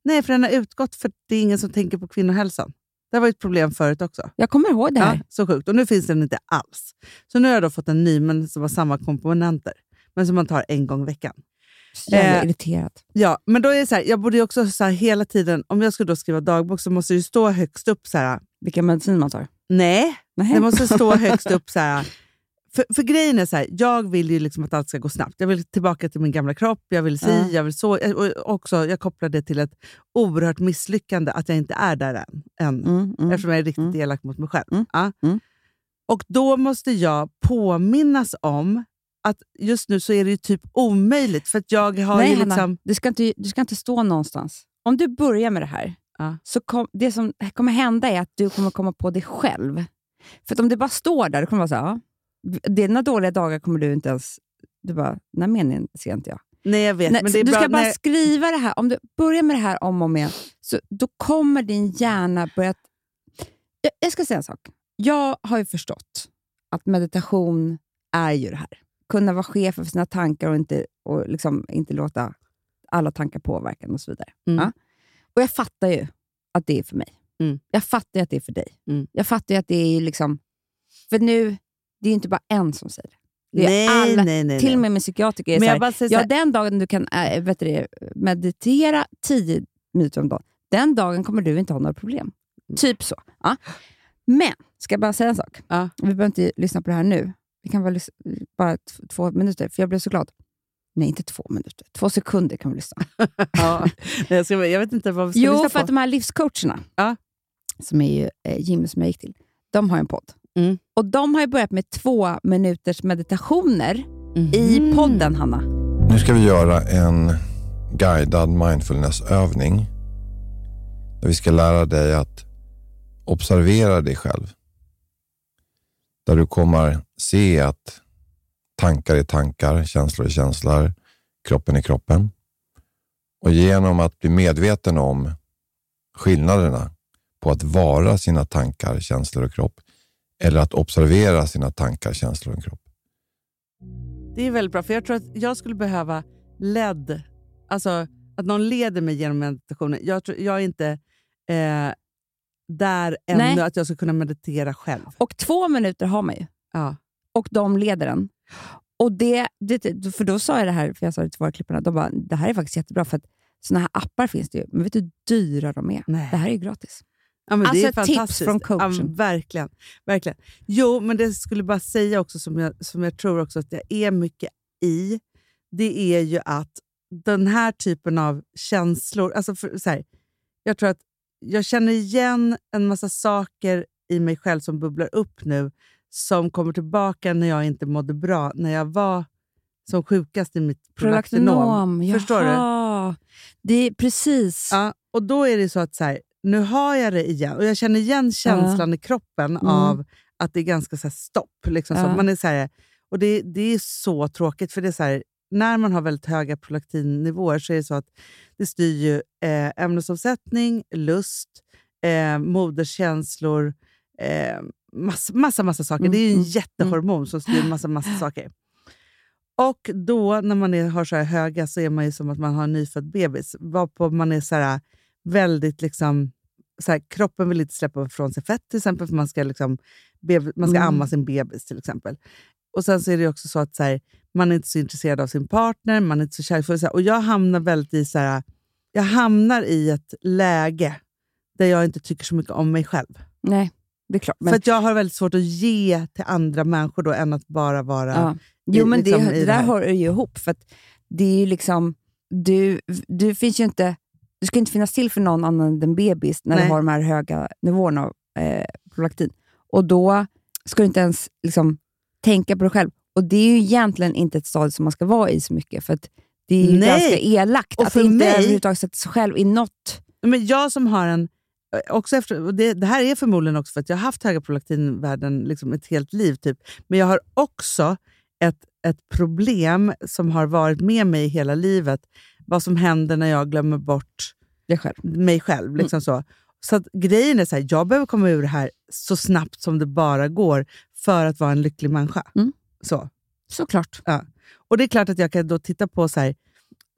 [SPEAKER 5] Nej, för den har utgått för att det är ingen som tänker på kvinnohälsan. Det här var ju ett problem förut också.
[SPEAKER 4] Jag kommer ihåg det här.
[SPEAKER 5] Ja, så sjukt. Och nu finns den inte alls. Så nu har jag då fått en ny men som har samma komponenter, men som man tar en gång i veckan.
[SPEAKER 4] Så jävla
[SPEAKER 5] Eh,
[SPEAKER 4] irriterad.
[SPEAKER 5] Ja, men då är det så här, jag borde ju också så här, hela tiden, om jag skulle då skriva dagbok så måste det ju stå högst upp så här,
[SPEAKER 4] Vilken medicin man tar.
[SPEAKER 5] nej,
[SPEAKER 4] Nej.
[SPEAKER 5] det måste stå högst upp så här. För, för grejen är så här, jag vill ju liksom att allt ska gå snabbt. Jag vill tillbaka till min gamla kropp, jag vill si,
[SPEAKER 4] Ja.
[SPEAKER 5] jag vill så. Eh, Och också, jag kopplar det till ett oerhört misslyckande att jag inte är där än. än
[SPEAKER 4] Mm, mm.
[SPEAKER 5] Eftersom jag är riktigt
[SPEAKER 4] Mm.
[SPEAKER 5] elak mot mig själv.
[SPEAKER 4] Mm.
[SPEAKER 5] Ja.
[SPEAKER 4] Mm.
[SPEAKER 5] Och då måste jag påminnas om att just nu så är det ju typ omöjligt. För att jag har
[SPEAKER 4] Nej,
[SPEAKER 5] ju
[SPEAKER 4] Hanna.
[SPEAKER 5] liksom...
[SPEAKER 4] Du, ska inte, du ska inte stå någonstans. Om du börjar med det här, så kom, det som kommer hända är att du kommer komma på det själv. För att om det bara står där, då kommer du vara så här, ja, dina dåliga dagar kommer du inte ens... Du bara, den här meningen ser inte jag.
[SPEAKER 5] Nej, jag vet.
[SPEAKER 4] Nej,
[SPEAKER 5] men det är
[SPEAKER 4] du
[SPEAKER 5] bra,
[SPEAKER 4] ska bara
[SPEAKER 5] nej,
[SPEAKER 4] skriva det här. Om du börjar med det här om och om igen, så då kommer din hjärna börja... Jag, jag ska säga en sak. Jag har ju förstått att meditation är ju det här. Kunna vara chef över sina tankar och inte, och liksom inte låta alla tankar påverka en och så vidare.
[SPEAKER 5] Mm.
[SPEAKER 4] Ja. Och jag fattar ju att det är för mig.
[SPEAKER 5] Mm.
[SPEAKER 4] Jag fattar ju att det är för dig.
[SPEAKER 5] Mm.
[SPEAKER 4] Jag fattar ju att det är ju liksom... För nu, det är ju inte bara en som säger det. det är
[SPEAKER 5] nej,
[SPEAKER 4] alla-
[SPEAKER 5] nej, nej,
[SPEAKER 4] Till och
[SPEAKER 5] nej.
[SPEAKER 4] med min psykiatriker är så
[SPEAKER 5] Men
[SPEAKER 4] här,
[SPEAKER 5] jag bara säger så
[SPEAKER 4] Ja,
[SPEAKER 5] här,
[SPEAKER 4] den dagen du kan äh, vet du, det, meditera 10 minuter om dagen, den dagen kommer du inte ha några problem.
[SPEAKER 5] Mm.
[SPEAKER 4] Typ så. Ja. Men, ska jag bara säga en sak?
[SPEAKER 5] Ja.
[SPEAKER 4] Vi behöver inte lyssna på det här nu. Vi kan bara, lys- bara t- två minuter, för jag blev så glad. Nej, inte två minuter. Två sekunder kan vi lyssna.
[SPEAKER 5] ja. Nej, jag, ska, jag vet inte vad vi ska
[SPEAKER 4] Jo,
[SPEAKER 5] lyssna
[SPEAKER 4] för att
[SPEAKER 5] på.
[SPEAKER 4] de här livscoacherna,
[SPEAKER 5] Ja.
[SPEAKER 4] som är ju eh, Jimmy som jag gick till, de har ju en podd.
[SPEAKER 5] Mm.
[SPEAKER 4] Och de har ju börjat med två minuters meditationer i
[SPEAKER 5] Mhm.
[SPEAKER 4] podden, Hanna.
[SPEAKER 6] Nu ska vi göra en guidad mindfulnessövning. Där vi ska lära dig att observera dig själv. Där du kommer se att tankar är tankar, känslor är känslor, kroppen är kroppen. Och genom att bli medveten om skillnaderna på att vara sina tankar, känslor och kropp eller att observera sina tankar, känslor och kropp.
[SPEAKER 5] Det är väldigt bra, för jag tror att jag skulle behöva ledd. Alltså att någon leder mig genom meditationen. Jag, tror, jag är inte eh, där ännu
[SPEAKER 4] Nej.
[SPEAKER 5] att jag ska kunna meditera själv.
[SPEAKER 4] Och två minuter har man ju.
[SPEAKER 5] Ja.
[SPEAKER 4] och de leder den. Och det, det, för då sa jag det här, för jag sa det till våra klipparna, de bara, det här är faktiskt jättebra för att sådana här appar finns det ju, men vet du hur dyra de är?
[SPEAKER 5] Nej.
[SPEAKER 4] Det här är ju gratis.
[SPEAKER 5] Ja, men det
[SPEAKER 4] Alltså,
[SPEAKER 5] är
[SPEAKER 4] tips
[SPEAKER 5] fantastiskt.
[SPEAKER 4] från coachen.
[SPEAKER 5] Ja, men verkligen, verkligen. Jo, men det skulle bara säga också som jag, som jag tror också att jag är mycket i, det är ju att den här typen av känslor... Alltså för, så här, jag tror att jag känner igen en massa saker i mig själv som bubblar upp nu som kommer tillbaka när jag inte mådde bra, när jag var som sjukast i mitt prolaktinom. Förstår du?
[SPEAKER 4] jaha. Det är precis.
[SPEAKER 5] Ja, och då är det så att så här, nu har jag det igen. Och jag känner igen känslan i kroppen av att det är ganska så här stopp. Liksom, så
[SPEAKER 4] Mm. Ja.
[SPEAKER 5] att man är så här, och det, det är så tråkigt, för det är så här, när man har väldigt höga prolaktinnivåer så är det så att det styr ju eh, ämnesomsättning, lust, eh, moderskänslor, eh, massa, massa, massa saker.
[SPEAKER 4] Mm,
[SPEAKER 5] Det är ju en
[SPEAKER 4] mm,
[SPEAKER 5] jättehormon som styr massa, massa saker. Och då när man är, har så här höga så är man ju som att man har en nyfödd bebis. Varpå man är så här, väldigt liksom... Så här, kroppen vill inte släppa från sig fett till exempel för man ska, liksom, beb- man ska
[SPEAKER 4] Mm.
[SPEAKER 5] amma sin bebis till exempel. Och sen så är det ju också så att så här, man är inte så intresserad av sin partner, man är inte så kärleksfull. Så här, och jag hamnar väldigt i så här, jag hamnar i ett läge där jag inte tycker så mycket om mig själv.
[SPEAKER 4] Nej, det är klart. Men,
[SPEAKER 5] för att jag har väldigt svårt att ge till andra människor då, än att bara vara...
[SPEAKER 4] ja. Jo,
[SPEAKER 5] i-
[SPEAKER 4] men
[SPEAKER 5] liksom
[SPEAKER 4] det,
[SPEAKER 5] i
[SPEAKER 4] det
[SPEAKER 5] det
[SPEAKER 4] där
[SPEAKER 5] här.
[SPEAKER 4] hör ju ihop. För att det är ju liksom, du, du finns ju inte, du ska inte finnas till för någon annan än bebis när
[SPEAKER 5] Nej.
[SPEAKER 4] du har de här höga nivåerna av eh, prolaktin. Och då ska du inte ens liksom, tänka på dig själv. Och det är ju egentligen inte ett stadie som man ska vara i så mycket. För att det är ju
[SPEAKER 5] Nej.
[SPEAKER 4] ganska elakt
[SPEAKER 5] Och
[SPEAKER 4] att
[SPEAKER 5] för
[SPEAKER 4] inte
[SPEAKER 5] mig-
[SPEAKER 4] överhuvudtaget sätta sig själv i något.
[SPEAKER 5] Men jag som har en... eh, Också efter, och det, det här är förmodligen också för att jag har haft höga prolaktinvärden liksom ett helt liv. typ. Men jag har också ett, ett problem som har varit med mig hela livet. Vad som händer när jag glömmer bort
[SPEAKER 4] Det själv. Mm.
[SPEAKER 5] mig själv. Liksom så. Så att grejen är så här, jag behöver komma ur det här så snabbt som det bara går för att vara en lycklig människa.
[SPEAKER 4] Mm.
[SPEAKER 5] Så.
[SPEAKER 4] Såklart.
[SPEAKER 5] Och det är klart att jag kan då titta på så här,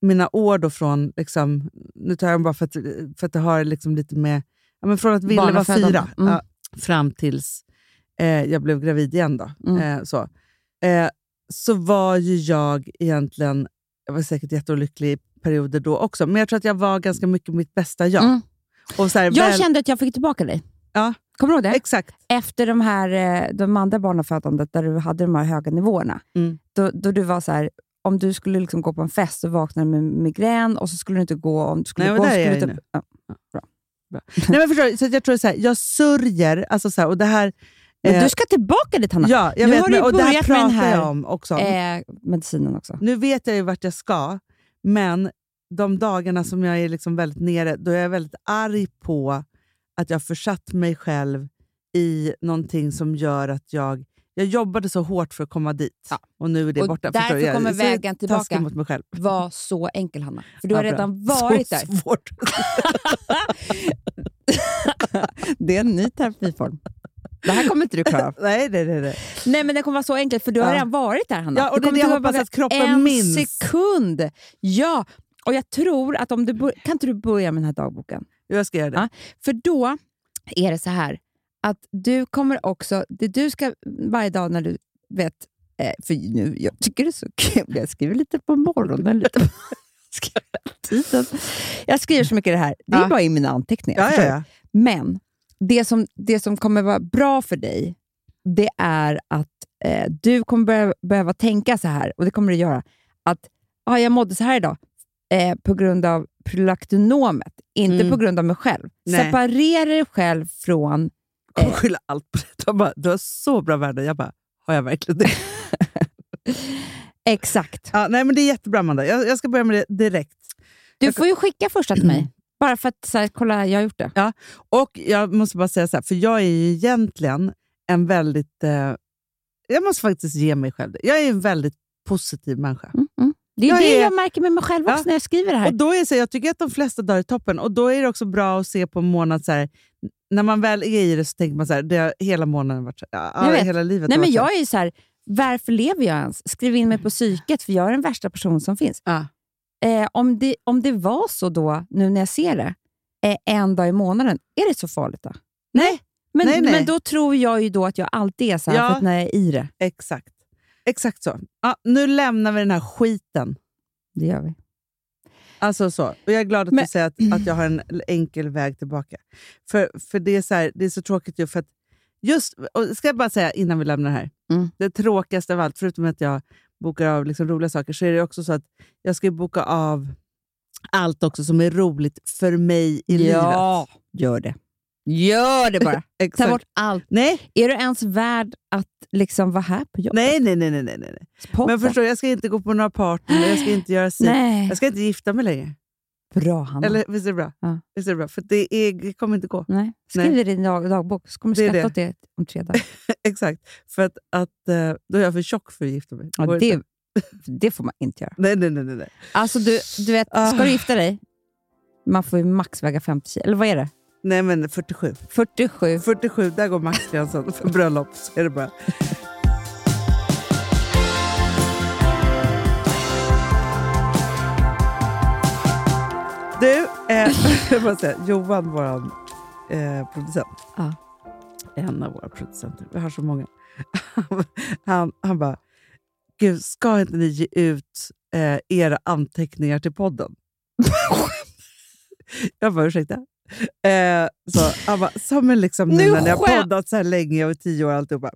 [SPEAKER 5] mina år då från, liksom, nu tar jag dem bara för att, för att det har liksom lite med ja, men från att Ville var
[SPEAKER 4] Barnafödande.
[SPEAKER 5] fyra
[SPEAKER 4] Mm.
[SPEAKER 5] ja, fram tills eh, jag blev gravid igen. Då.
[SPEAKER 4] Mm.
[SPEAKER 5] Eh, så. Eh, så var ju jag egentligen, jag var säkert jätteolycklig i perioder då också, men jag tror att jag var ganska mycket mitt bästa jag.
[SPEAKER 4] Mm.
[SPEAKER 5] Och så här,
[SPEAKER 4] Jag
[SPEAKER 5] väl,
[SPEAKER 4] kände att jag fick tillbaka dig.
[SPEAKER 5] Ja.
[SPEAKER 4] Kommer du ihåg det?
[SPEAKER 5] Exakt.
[SPEAKER 4] Efter de, här, eh, de andra barnafödandet, där du hade de här höga nivåerna,
[SPEAKER 5] Mm.
[SPEAKER 4] då, då du var så här, om du skulle liksom gå på en fest så vaknade du med migrän och så skulle du inte gå. Om du skulle
[SPEAKER 5] Nej, men
[SPEAKER 4] gå,
[SPEAKER 5] där är
[SPEAKER 4] skulle
[SPEAKER 5] jag
[SPEAKER 4] du
[SPEAKER 5] ju
[SPEAKER 4] inte- ja.
[SPEAKER 5] Nej, men förstår, du? så att jag tror så här, jag sörjer, alltså så här, och det här...
[SPEAKER 4] Men
[SPEAKER 5] eh,
[SPEAKER 4] du ska tillbaka dit, Hanna.
[SPEAKER 5] ja, jag
[SPEAKER 4] nu
[SPEAKER 5] vet,
[SPEAKER 4] har du
[SPEAKER 5] men-
[SPEAKER 4] ju
[SPEAKER 5] och det här
[SPEAKER 4] börjat med den
[SPEAKER 5] pratar
[SPEAKER 4] här,
[SPEAKER 5] jag om också.
[SPEAKER 4] Eh, medicinen också.
[SPEAKER 5] Nu vet jag ju vart jag ska, men de dagarna som jag är liksom väldigt nere, då är jag väldigt arg på att jag försatt mig själv i någonting som gör att jag... Jag jobbade så hårt för att komma dit och nu är det
[SPEAKER 4] Och
[SPEAKER 5] borta.
[SPEAKER 4] därför
[SPEAKER 5] förstår du? Jag
[SPEAKER 4] kommer
[SPEAKER 5] är så
[SPEAKER 4] vägen tillbaka.
[SPEAKER 5] taskig mot mig själv.
[SPEAKER 4] Var så enkel, Hanna. För du
[SPEAKER 5] Ja,
[SPEAKER 4] har
[SPEAKER 5] bra.
[SPEAKER 4] redan varit
[SPEAKER 5] så
[SPEAKER 4] där.
[SPEAKER 5] Svårt.
[SPEAKER 4] Det är en ny terapiform. Det här kommer inte du klara av.
[SPEAKER 5] Nej, nej, nej. nej.
[SPEAKER 4] Nej, men den kommer vara så enkel, för du har
[SPEAKER 5] Ja.
[SPEAKER 4] redan varit där, Hanna.
[SPEAKER 5] Ja,
[SPEAKER 4] Du
[SPEAKER 5] och det är
[SPEAKER 4] kommer
[SPEAKER 5] det jag
[SPEAKER 4] tillbaka
[SPEAKER 5] hoppas att kroppen
[SPEAKER 4] en
[SPEAKER 5] minns.
[SPEAKER 4] sekund. Ja, och jag tror att om du... bör- Kan inte du börja med den här dagboken?
[SPEAKER 5] Jag ska göra det.
[SPEAKER 4] Ja. För då är det så här att du kommer också... Det du ska varje dag när du vet... eh, För nu, jag tycker det är så kul. Jag skriver lite på morgonen, lite på tiden. Jag skriver så mycket i det här. Det är
[SPEAKER 5] Ja.
[SPEAKER 4] bara i mina anteckningar.
[SPEAKER 5] Ja,
[SPEAKER 4] förstår
[SPEAKER 5] ja,
[SPEAKER 4] du?
[SPEAKER 5] ja.
[SPEAKER 4] Men det som, det som kommer vara bra för dig, det är att eh, du kommer börja, behöva tänka så här, och det kommer du göra, att ah, jag mådde så här idag eh, på grund av prolaktinomet, inte
[SPEAKER 5] Mm.
[SPEAKER 4] på grund av mig själv.
[SPEAKER 5] Nej.
[SPEAKER 4] Separera dig själv från... Eh.
[SPEAKER 5] Jag kommer skylla allt på det. De bara, du har så bra värden. Jag bara, har jag verkligen det?
[SPEAKER 4] Exakt.
[SPEAKER 5] Ja, nej, men det är jättebra, Amanda. Jag, jag ska börja med det direkt.
[SPEAKER 4] Du får ju skicka första till
[SPEAKER 5] Mm.
[SPEAKER 4] mig, bara för att så här, kolla, jag har gjort det.
[SPEAKER 5] Och jag måste bara säga så här, för jag är ju egentligen en väldigt... Eh, jag måste faktiskt ge mig själv det. Jag är en väldigt positiv människa.
[SPEAKER 4] Mm, mm. Det är
[SPEAKER 5] Jag
[SPEAKER 4] det
[SPEAKER 5] är-
[SPEAKER 4] jag märker med mig själv också
[SPEAKER 5] Ja.
[SPEAKER 4] när jag skriver det här.
[SPEAKER 5] Och då är det så, här, Jag tycker att de flesta dagar är toppen och då är det också bra att se på en månad så här, när man väl är i det så tänker man så här, det har hela månaden varit så här, ja,
[SPEAKER 4] Jag vet.
[SPEAKER 5] hela livet
[SPEAKER 4] Nej,
[SPEAKER 5] har
[SPEAKER 4] men
[SPEAKER 5] varit så här.
[SPEAKER 4] jag är ju så här, varför lever jag ens? Skriv in mig på psyket, för jag är den värsta person som finns.
[SPEAKER 5] Ja.
[SPEAKER 4] Eh, om, det, om det var så då, nu när jag ser det, eh, en dag i månaden, är det så farligt då? Nej. Men,
[SPEAKER 5] Nej, nej.
[SPEAKER 4] men då tror jag ju då att jag alltid är så här,
[SPEAKER 5] Ja.
[SPEAKER 4] för att när jag är i det.
[SPEAKER 5] Exakt. Exakt så. Ja, nu lämnar vi den här skiten.
[SPEAKER 4] Det gör vi.
[SPEAKER 5] Alltså så. Och jag är glad att
[SPEAKER 4] Men-
[SPEAKER 5] du säger att, att jag har en enkel väg tillbaka. För, för det, är så här, det är så tråkigt ju. För att just, och ska jag bara säga innan vi lämnar det här.
[SPEAKER 4] Mm.
[SPEAKER 5] Det tråkigaste av allt, förutom att jag bokar av liksom roliga saker, så är det också så att jag ska ju boka av allt också som är roligt för mig i
[SPEAKER 4] ja,
[SPEAKER 5] livet.
[SPEAKER 4] gör det. Gör det bara. Ta
[SPEAKER 5] Exakt.
[SPEAKER 4] bort allt.
[SPEAKER 5] Nej,
[SPEAKER 4] Är du ens värd att liksom vara här på jobbet?
[SPEAKER 5] nej, nej, nej, nej, nej, nej.
[SPEAKER 4] Podden?
[SPEAKER 5] Men förstår du, jag ska inte gå på några partyn, jag ska inte göra si.
[SPEAKER 4] Nej.
[SPEAKER 5] Jag ska inte gifta mig längre.
[SPEAKER 4] Bra Hanna.
[SPEAKER 5] Alltså- Eller, visst är det bra?
[SPEAKER 4] Ja.
[SPEAKER 5] Visst är det bra? För det, är, det kommer inte gå.
[SPEAKER 4] Nej. Skriv
[SPEAKER 5] Nej.
[SPEAKER 4] det i din dag, dagbok, så kommer du
[SPEAKER 5] Det är
[SPEAKER 4] skratta
[SPEAKER 5] det.
[SPEAKER 4] åt det om tre dagar.
[SPEAKER 5] Exakt. För att, att eh, då är jag för tjock för att gifta mig.
[SPEAKER 4] Ja,
[SPEAKER 5] Går
[SPEAKER 4] det,
[SPEAKER 5] inte.
[SPEAKER 4] det får man inte göra.
[SPEAKER 5] Nej, nej, nej. nej, nej.
[SPEAKER 4] Alltså du, du vet,
[SPEAKER 5] Ah.
[SPEAKER 4] ska du gifta dig, man får ju max väga 50 kilo. Eller vad är det?
[SPEAKER 5] nej men 47.
[SPEAKER 4] 47.
[SPEAKER 5] 47, där går maxgränsen för bröllop. Så är det bara. Du, eh, jag måste säga, Johan, vår eh, producent.
[SPEAKER 4] Ja.
[SPEAKER 5] En av våra producenter. Vi har så många. Han, han bara, Gud, ska inte ni ge ut eh, era anteckningar till podden? jag bara, ursäkta? Eh, så, han bara, som en liksom nu,
[SPEAKER 4] Nu
[SPEAKER 5] när ni har
[SPEAKER 4] skäm-
[SPEAKER 5] poddat så här länge och tio år och alltihopa.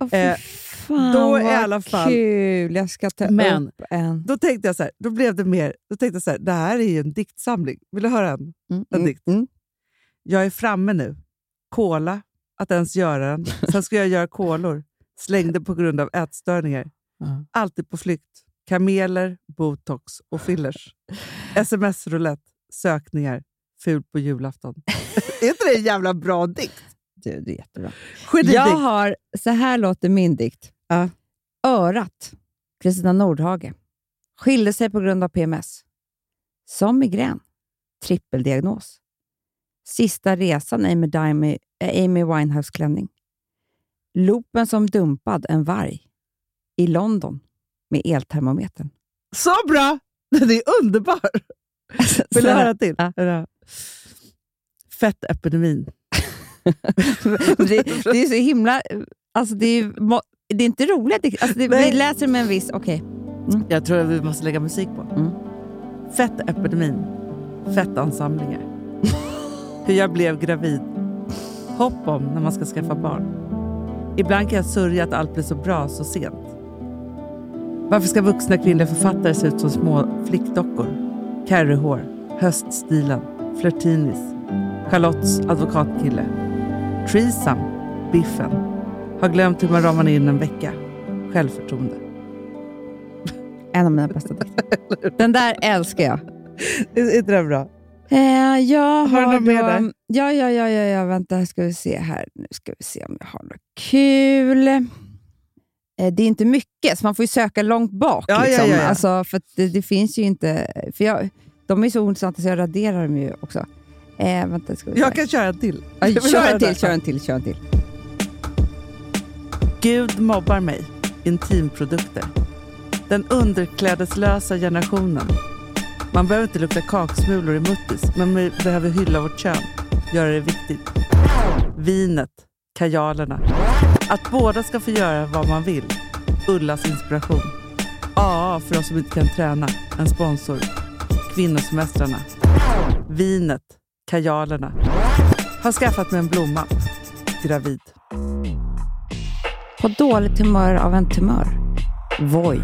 [SPEAKER 4] Åh, fy
[SPEAKER 5] Eh,
[SPEAKER 4] fan
[SPEAKER 5] då
[SPEAKER 4] vad
[SPEAKER 5] i alla fall-
[SPEAKER 4] kul! Jag ska ta
[SPEAKER 5] Men-
[SPEAKER 4] upp en.
[SPEAKER 5] Då tänkte jag så här, då blev det mer, då tänkte jag så här, det här är ju en diktsamling. Vill du höra en?
[SPEAKER 4] Mm,
[SPEAKER 5] en
[SPEAKER 4] mm,
[SPEAKER 5] dikt? Jag är framme nu. Kola, att ens göra den. Sen ska jag göra kolor. Slängde på grund av ätstörningar.
[SPEAKER 4] Ja.
[SPEAKER 5] Alltid på flykt. Kameler, botox och fillers. Sms-roulette, sökningar, ful på julafton. är inte det en jävla bra dikt?
[SPEAKER 4] Du, det är jättebra. Jag
[SPEAKER 5] Genidikt.
[SPEAKER 4] har, så här låter min dikt.
[SPEAKER 5] Ja.
[SPEAKER 4] Örat, Kristina Nordhage. Skilde sig på grund av PMS. Som migrän. Trippeldiagnos. Sista resan Amy, Dimey, eh, Amy Winehouse-klänning. Loopen som dumpad en varg. I London med eltermometern.
[SPEAKER 5] Så bra! Den är underbar! Vill du höra till?
[SPEAKER 4] Ja.
[SPEAKER 5] Är det här?
[SPEAKER 7] Fettepidemin.
[SPEAKER 4] det, det är så himla... Alltså det, är, ju må- det är inte roligt. Det- Alltså det, vi
[SPEAKER 7] Nej.
[SPEAKER 4] läser med en viss... Okej.
[SPEAKER 7] Jag tror att vi måste lägga musik på.
[SPEAKER 4] Mm.
[SPEAKER 7] Fettepidemin. Fettansamlingar. Hur jag blev gravid. Hopp om när man ska skaffa barn. Ibland kan jag sörja att allt blir så bra så sent. Varför ska vuxna kvinnliga författare se ut som små flickdockor? Carryhår, höststilen, flörtinis, Charlottes advokatkille, Trisam, biffen. Har glömt hur man ramar in en vecka. Självförtroende.
[SPEAKER 4] En av mina bästa dikter. Den där älskar jag.
[SPEAKER 7] Är inte det bra?
[SPEAKER 4] Eh, jag
[SPEAKER 7] Har
[SPEAKER 4] har,
[SPEAKER 7] du något mer
[SPEAKER 4] då-
[SPEAKER 7] där?
[SPEAKER 4] Ja, ja, ja, ja, ja, vänta, här ska vi se här. Nu ska vi se om jag har något kul. Eh, det är inte mycket, så man får ju söka långt bak.
[SPEAKER 7] Ja, ja,
[SPEAKER 4] liksom.
[SPEAKER 7] ja, ja.
[SPEAKER 4] Alltså, för att det, det finns ju inte... För jag, de är så ointressanta så jag raderar dem ju också. Eh, vänta, ska vi
[SPEAKER 5] Jo,
[SPEAKER 4] se.
[SPEAKER 7] Jag kan köra en till.
[SPEAKER 4] Ja,
[SPEAKER 7] Jag vill
[SPEAKER 4] kör
[SPEAKER 7] höra
[SPEAKER 4] en till,
[SPEAKER 7] detta.
[SPEAKER 4] kör en till, kör en till.
[SPEAKER 7] Gud mobbar mig. Intimprodukter. Den underklädeslösa generationen. Man behöver inte lukta kaksmulor i muttis, men vi behöver hylla vårt kön. Göra det viktigt. Vinet. Kajalerna. Att båda ska få göra vad man vill. Ullas inspiration. AA för oss som inte kan träna. En sponsor. Kvinnosemestrarna. Vinet. Kajalerna. Har skaffat mig en blomma. Gravid.
[SPEAKER 4] På dåligt humör av en tumör. Voi.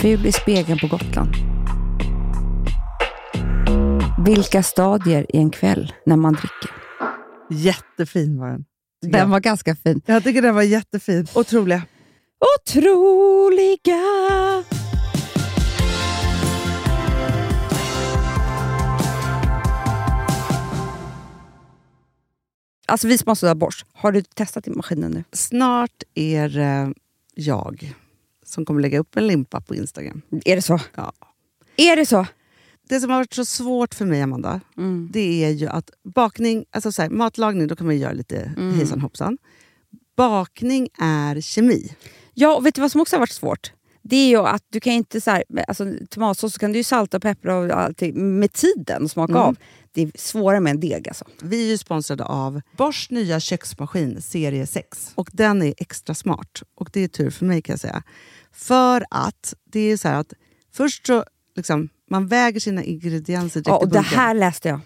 [SPEAKER 4] Ful i spegeln på Gotland. Vilka stadier i en kväll när man dricker.
[SPEAKER 7] Jättefin var den. tycker
[SPEAKER 4] Den var ganska fin.
[SPEAKER 7] Jag tycker den var jättefin. Otroliga.
[SPEAKER 4] Otroliga! Alltså vi som har sådär borst, har du testat i maskinen nu?
[SPEAKER 5] Snart är det jag som kommer lägga upp en limpa på Instagram.
[SPEAKER 4] Är det så?
[SPEAKER 5] Ja.
[SPEAKER 4] Är det så?
[SPEAKER 5] Det som har varit så svårt för mig, Amanda, det är ju att bakning... Alltså så här, matlagning, då kan man ju göra lite hejsan hoppsan. Bakning är kemi.
[SPEAKER 4] Ja, och vet du vad som också har varit svårt? Det är ju att du kan inte så här, alltså, tomatsås så kan du ju salta och peppra och allting med tiden och
[SPEAKER 5] Mm.
[SPEAKER 4] smaka av. Det är svårare med en deg alltså.
[SPEAKER 5] Vi är ju sponsrade av Bors nya köksmaskin serie 6. Och den är extra smart. Och det är tur för mig kan jag säga. För att det är så här att först så liksom, man väger sina ingredienser direkt
[SPEAKER 4] Ja,
[SPEAKER 5] i
[SPEAKER 4] och det
[SPEAKER 5] bunken.
[SPEAKER 4] här läste jag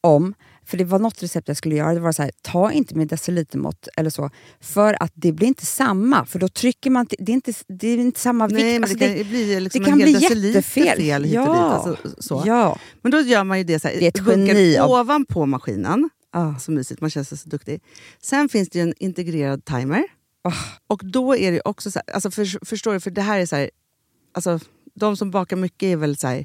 [SPEAKER 4] om. För det var något recept jag skulle göra. Det var så här, ta inte med decilitermått eller så. För att det blir inte samma. För då trycker man... till- Det är inte, det är inte samma
[SPEAKER 5] Nej,
[SPEAKER 4] vikt.
[SPEAKER 5] men
[SPEAKER 4] Alltså,
[SPEAKER 5] det kan ju bli liksom
[SPEAKER 4] det kan
[SPEAKER 5] en hel
[SPEAKER 4] bli
[SPEAKER 5] deciliter
[SPEAKER 4] jättefel.
[SPEAKER 5] fel hit och dit.
[SPEAKER 4] Ja.
[SPEAKER 5] Alltså, så.
[SPEAKER 4] Ja.
[SPEAKER 5] Men då gör man ju det så här,
[SPEAKER 4] Det är ett
[SPEAKER 5] bunkar
[SPEAKER 4] geni av-
[SPEAKER 5] ovanpå maskinen.
[SPEAKER 4] Ah.
[SPEAKER 5] Så mysigt, man känns så duktig. Sen finns det ju en integrerad timer.
[SPEAKER 4] Ah.
[SPEAKER 5] Och då är det ju också så här, alltså för, förstår du, för det här är så här, alltså de som bakar mycket är väl så här,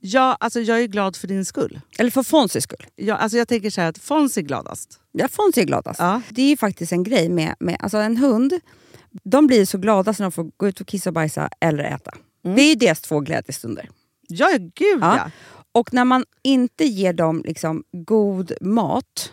[SPEAKER 8] Ja, alltså jag är glad för din skull.
[SPEAKER 4] Eller för Fonzys skull.
[SPEAKER 8] Ja, alltså jag tänker så här att Fons är gladast.
[SPEAKER 4] Ja, Fonzie är gladast.
[SPEAKER 8] Ja.
[SPEAKER 4] Det är ju faktiskt en grej med, med alltså en hund. De blir så glada när de får gå ut och kissa och bajsa eller äta.
[SPEAKER 8] Mm.
[SPEAKER 4] Det är ju deras två glädjestunder.
[SPEAKER 8] Ja, gud
[SPEAKER 4] Ja.
[SPEAKER 8] ja.
[SPEAKER 4] Och när man inte ger dem liksom god mat,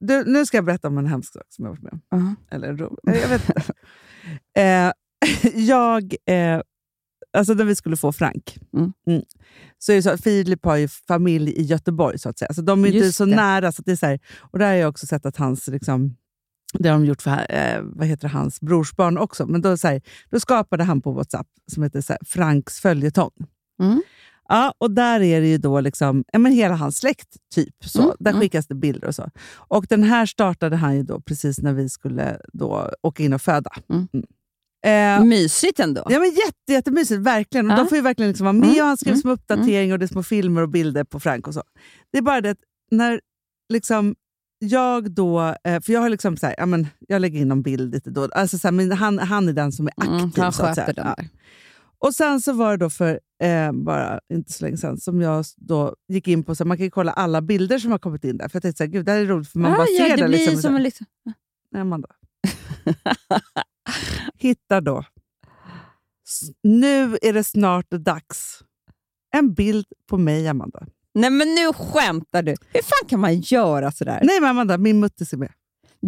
[SPEAKER 5] Du, nu ska jag berätta om en hemsk sak som jag varit med om.
[SPEAKER 2] Uh-huh.
[SPEAKER 5] Eller ro, jag vet inte. eh, jag, eh, alltså när vi skulle få Frank,
[SPEAKER 2] Mm.
[SPEAKER 5] så är det så att Filip har ju familj i Göteborg, så att säga. Alltså, de är inte
[SPEAKER 2] Just
[SPEAKER 5] så
[SPEAKER 2] det.
[SPEAKER 5] nära. Så att det är så här, och där har jag också sett att hans, liksom, det har de gjort för eh, vad heter det, hans brorsbarn också. Men då, så här, då skapade han på WhatsApp, som heter så här, Franks följetong.
[SPEAKER 2] Mm.
[SPEAKER 5] Ja, och där är det ju då liksom, ja, men hela hans släkt, typ. Så.
[SPEAKER 2] Mm,
[SPEAKER 5] Där
[SPEAKER 2] mm.
[SPEAKER 5] skickas det bilder och så. Och den här startade han ju då precis när vi skulle då åka in och föda.
[SPEAKER 2] Mm.
[SPEAKER 5] Eh,
[SPEAKER 2] Mysigt ändå.
[SPEAKER 5] Ja, men jätte, jättemysigt, verkligen. Och
[SPEAKER 2] Ja.
[SPEAKER 5] De får ju verkligen liksom vara med
[SPEAKER 2] Mm,
[SPEAKER 5] och han skriver
[SPEAKER 2] mm,
[SPEAKER 5] små uppdateringar och det är små filmer och bilder på Frank och så. Det är bara det att när liksom jag då, eh, för jag har liksom så här, ja, men jag lägger in någon bild lite då. Alltså så här, men han, han är den som är aktiv.
[SPEAKER 2] Mm, han
[SPEAKER 5] så att säga.
[SPEAKER 2] sköter den
[SPEAKER 5] Ja.
[SPEAKER 2] där.
[SPEAKER 5] Och sen så var det då för eh, bara inte så länge sedan som jag s- då gick in på, så här, man kan ju kolla alla bilder som har kommit in där. För jag tänkte så här, gud det här är roligt för
[SPEAKER 2] Ah,
[SPEAKER 5] man bara ser
[SPEAKER 9] ja, det
[SPEAKER 5] det.
[SPEAKER 9] blir
[SPEAKER 5] Liksom,
[SPEAKER 9] som
[SPEAKER 5] så,
[SPEAKER 9] en liksom...
[SPEAKER 5] nej, Amanda. Hittar då, s- nu är det snart dags, en bild på mig Amanda.
[SPEAKER 4] Nej men nu skämtar du! Hur fan kan man göra sådär?
[SPEAKER 5] Nej men Amanda, min muttis är med.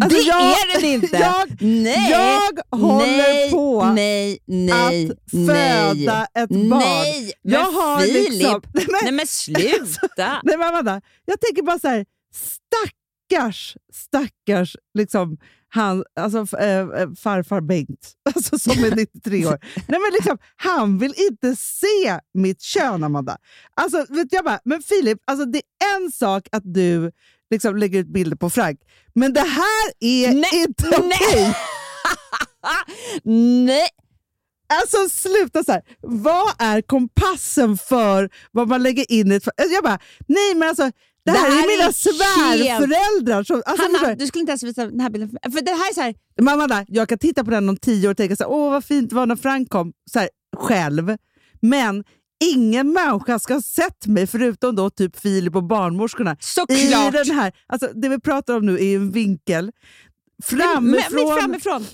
[SPEAKER 5] Alltså,
[SPEAKER 4] det
[SPEAKER 5] jag-
[SPEAKER 4] är den inte!
[SPEAKER 5] jag-
[SPEAKER 4] nej,
[SPEAKER 5] jag håller
[SPEAKER 4] nej,
[SPEAKER 5] på
[SPEAKER 4] nej, nej,
[SPEAKER 5] Att föda ett barn.
[SPEAKER 4] Nej, men
[SPEAKER 5] jag har
[SPEAKER 4] Filip!
[SPEAKER 5] liksom, nej, men,
[SPEAKER 4] Nej men sluta!
[SPEAKER 5] Nej, men Amanda, jag tänker bara så här, stackars, stackars liksom, han, alltså, f- eh, eh, farfar Bengt, alltså, som är 93 år. Nej, men liksom, han vill inte se mitt kön, Amanda. Alltså, vet du, jag bara, men Filip, alltså, det är en sak att du liksom, lägger ut bilder på Frank, men det här är
[SPEAKER 4] Nej,
[SPEAKER 5] inte okej.
[SPEAKER 4] nej. nej!
[SPEAKER 5] Alltså sluta så här. Vad är kompassen för vad man lägger in i ett... Alltså, Jag bara, nej men alltså, det här,
[SPEAKER 4] här
[SPEAKER 5] är
[SPEAKER 4] är
[SPEAKER 5] mina
[SPEAKER 4] helt-
[SPEAKER 5] svärföräldrar. Som, alltså,
[SPEAKER 4] Hanna,
[SPEAKER 5] förstår du?
[SPEAKER 4] du skulle inte ens visa den här bilden för mig. För det här är så här,
[SPEAKER 5] Men Amanda, jag kan titta på den om tio år och tänka så här, åh vad fint det var när Frank kom, så här, själv. Men ingen människa ska ha sett mig förutom då typ Filip och barnmorskorna. I
[SPEAKER 4] Såklart!
[SPEAKER 5] den här, alltså det vi pratar om nu är ju en vinkel. Framifrån.
[SPEAKER 4] Men, men framifrån.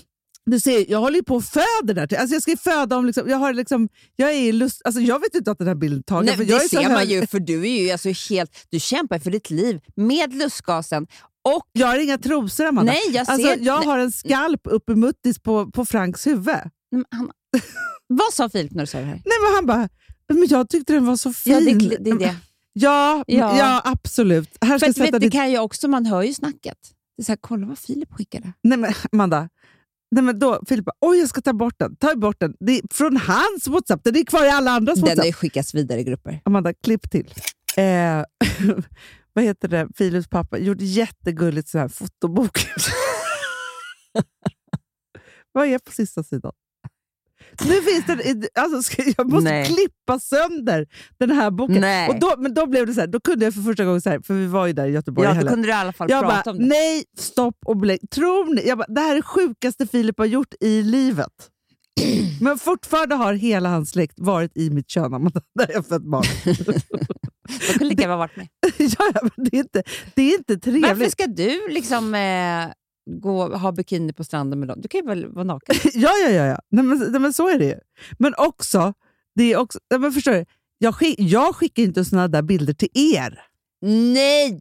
[SPEAKER 5] Du ser, jag håller ju på och föder där. Alltså jag ska ju föda om... Liksom, jag, har liksom, jag, är i lust, alltså jag vet inte att den här bilden är tagen.
[SPEAKER 4] Nej,
[SPEAKER 5] för
[SPEAKER 4] det
[SPEAKER 5] jag är så
[SPEAKER 4] ser man
[SPEAKER 5] hög-
[SPEAKER 4] ju, för du är ju alltså helt... Du kämpar för ditt liv med lustgasen. Och
[SPEAKER 5] Jag har inga trosor, Amanda.
[SPEAKER 4] nej, jag ser...
[SPEAKER 5] alltså, jag
[SPEAKER 4] nej,
[SPEAKER 5] har en skalp uppe i muttis på, på Franks huvud.
[SPEAKER 4] men han, vad sa Filip när du sa det här?
[SPEAKER 5] Nej, men han bara, men jag tyckte den var så fin.
[SPEAKER 4] Ja, det, är kli- det är det.
[SPEAKER 5] Ja,
[SPEAKER 4] Ja.
[SPEAKER 5] ja. absolut. Här ska
[SPEAKER 4] För
[SPEAKER 5] jag
[SPEAKER 4] att,
[SPEAKER 5] sätta
[SPEAKER 4] vet, det
[SPEAKER 5] ditt...
[SPEAKER 4] kan ju också, man hör ju snacket. Det är så här, kolla vad Filip skickade.
[SPEAKER 5] Nej, men Amanda. Nej, men då, Filip bara, oj jag ska ta bort den. Ta bort den. Det är från hans WhatsApp. Den är kvar i alla andras
[SPEAKER 4] Den har
[SPEAKER 5] WhatsApp.
[SPEAKER 4] ju skickats vidare i grupper.
[SPEAKER 5] Amanda, klipp till. Eh, vad heter det? Filips pappa gjorde jättegulligt så här fotobok. vad är på sista sidan? Nu finns den, alltså ska, jag måste
[SPEAKER 4] Nej.
[SPEAKER 5] klippa sönder den här boken.
[SPEAKER 4] Nej.
[SPEAKER 5] Och då, men då blev det så här, då kunde jag för första gången, så här, för vi var ju där i Göteborg i
[SPEAKER 4] Ja, då
[SPEAKER 5] helgen.
[SPEAKER 4] kunde du i alla fall
[SPEAKER 5] Jag
[SPEAKER 4] prata
[SPEAKER 5] bara,
[SPEAKER 4] om det.
[SPEAKER 5] nej, stopp och belägg. Tror ni? Jag bara, det här är det sjukaste Filip har gjort i livet. Men fortfarande har hela hans släkt varit i mitt kön, Amanda, när jag fött barn.
[SPEAKER 4] Jag kunde lika gärna varit med.
[SPEAKER 5] ja, ja, men det, är inte, det är inte
[SPEAKER 4] Varför
[SPEAKER 5] trevligt.
[SPEAKER 4] ska du liksom eh, gå, ha bikini på stranden med dem? Du kan ju väl vara naken?
[SPEAKER 5] Ja, ja, ja. ja. Nej, men, nej, men så är det ju. Men också, det är också nej, men förstår du? Jag, skick, jag skickar inte såna där bilder till er.
[SPEAKER 4] Nej!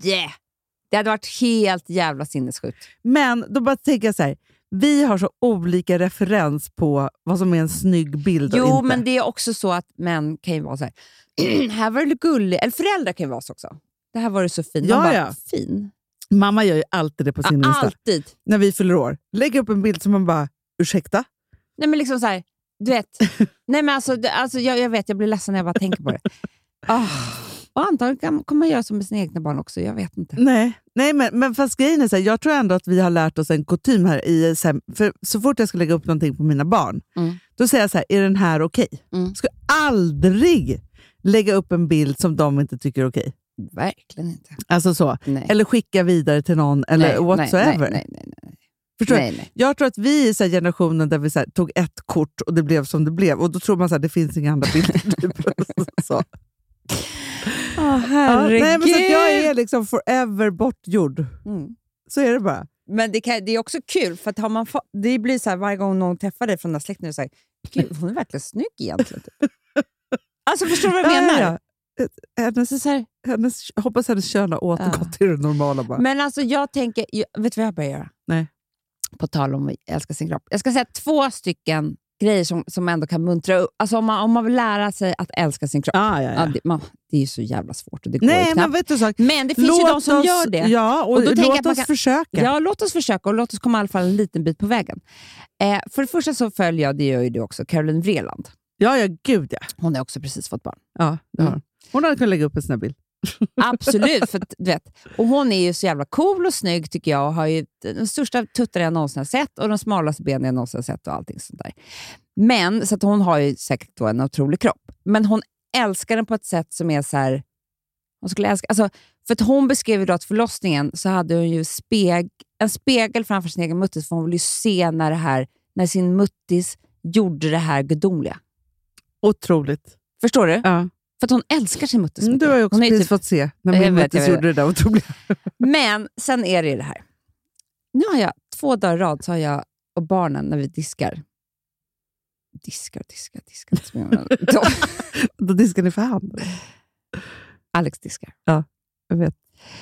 [SPEAKER 4] Det hade varit helt jävla sinnessjukt.
[SPEAKER 5] Men då bara tänker jag så här, vi har så olika referens på vad som är en snygg bild och
[SPEAKER 4] Jo,
[SPEAKER 5] inte.
[SPEAKER 4] men det är också så att män kan ju vara så här. här var du gullig. Eller föräldrar kan ju vara så också. Det här var du så fin. Man
[SPEAKER 5] Ja,
[SPEAKER 4] bara,
[SPEAKER 5] ja.
[SPEAKER 4] Fin?
[SPEAKER 5] Mamma gör ju alltid det på sin
[SPEAKER 4] Ja,
[SPEAKER 5] Insta.
[SPEAKER 4] alltid.
[SPEAKER 5] när vi fyller år. Lägg upp en bild som man bara, ursäkta?
[SPEAKER 4] Nej, men liksom så här, du vet. Nej, men alltså, det- alltså, jag, jag vet, jag blir ledsen när jag bara tänker på det. Ah. Och antagligen kan- kommer man göra som med sina egna barn också. Jag vet inte.
[SPEAKER 5] Nej, Nej men, men fast grejen är så här, jag tror ändå att vi har lärt oss en kutym här. I, så, här för så fort jag ska lägga upp någonting på mina barn,
[SPEAKER 4] Mm.
[SPEAKER 5] då säger jag så här, är den här okej?
[SPEAKER 4] Mm.
[SPEAKER 5] Jag ska aldrig lägga upp en bild som de inte tycker är okej.
[SPEAKER 4] Verkligen inte.
[SPEAKER 5] Alltså så.
[SPEAKER 4] Nej.
[SPEAKER 5] Eller skicka vidare till någon, eller
[SPEAKER 4] nej,
[SPEAKER 5] whatsoever.
[SPEAKER 4] Nej, nej, nej, nej.
[SPEAKER 5] Förstår du?
[SPEAKER 4] nej, nej.
[SPEAKER 5] Jag tror att vi är så här generationen där vi så här, tog ett kort och det blev som det blev. Och då tror man att det finns inga andra bilder. typ. så. Ja, nej, men så att jag är liksom forever bortgjord.
[SPEAKER 4] Mm.
[SPEAKER 5] Så är det bara.
[SPEAKER 4] Men det, kan, det är också kul, för att har man fa- det blir så här varje gång någon träffar dig från den här släkten, är det så här, gud, hon är verkligen snygg egentligen. typ. alltså förstår du vad jag
[SPEAKER 5] Ja,
[SPEAKER 4] menar?
[SPEAKER 5] ja, ja. Hennes, hennes, jag hoppas hennes kön har återgått
[SPEAKER 4] Ja.
[SPEAKER 5] till det normala. Bara.
[SPEAKER 4] Men alltså jag tänker, jag, vet du vad jag börjar göra?
[SPEAKER 5] Nej.
[SPEAKER 4] På tal om att älska sin kropp. Jag ska säga två stycken grejer som, som ändå kan muntra upp. Alltså om man, om man vill lära sig att älska sin kropp.
[SPEAKER 5] ah, ja,
[SPEAKER 4] Ja, det, man, det är ju så jävla svårt och det går ju
[SPEAKER 5] Nej, men
[SPEAKER 4] knappt.
[SPEAKER 5] vet du en sak?
[SPEAKER 4] Men, det finns ju de som
[SPEAKER 5] oss,
[SPEAKER 4] gör det.
[SPEAKER 5] Ja, och,
[SPEAKER 4] Och då tänker jag att
[SPEAKER 5] låt
[SPEAKER 4] man
[SPEAKER 5] oss
[SPEAKER 4] kan-
[SPEAKER 5] försöka.
[SPEAKER 4] Ja, låt oss försöka och låt oss komma i alla fall en liten bit på vägen. Eh, för det första så följer jag, det gör ju du också, Caroline Vreeland.
[SPEAKER 5] Ja, ja, gud ja.
[SPEAKER 4] Hon har också precis fått barn.
[SPEAKER 5] ja det
[SPEAKER 4] Mm.
[SPEAKER 5] har hon. hon hade kunnat lägga upp en sån här bild.
[SPEAKER 4] Absolut, för att, du vet. Och hon är ju så jävla cool och snygg tycker jag och har ju den största tuttarna jag någonsin har sett och de smalaste benen jag någonsin har sett och allting sånt där. Men, så att hon har ju säkert då en otrolig kropp. Men hon älskar den på ett sätt som är så här... Hon skulle älska, alltså, för att hon beskrev ju då att förlossningen så hade hon ju speg, en spegel framför sin egen muttis för hon ville ju se när, det här, när sin muttis gjorde det här gudomliga.
[SPEAKER 5] Otroligt.
[SPEAKER 4] Förstår du?
[SPEAKER 5] Ja.
[SPEAKER 4] För att hon älskar sin muttis.
[SPEAKER 5] Mm,
[SPEAKER 4] mycket.
[SPEAKER 5] Du har ju också
[SPEAKER 4] Hon är ju
[SPEAKER 5] precis
[SPEAKER 4] typ-
[SPEAKER 5] fått se
[SPEAKER 4] Jag
[SPEAKER 5] när min
[SPEAKER 4] vet, jag
[SPEAKER 5] Mattis
[SPEAKER 4] vet.
[SPEAKER 5] gjorde det där otroliga.
[SPEAKER 4] Men sen är det ju det här. Nu har jag två dagar i rad så har jag och barnen när vi diskar. Diskar, diskar, diskar. Då-
[SPEAKER 5] Då diskar ni för hand.
[SPEAKER 4] Alex diskar.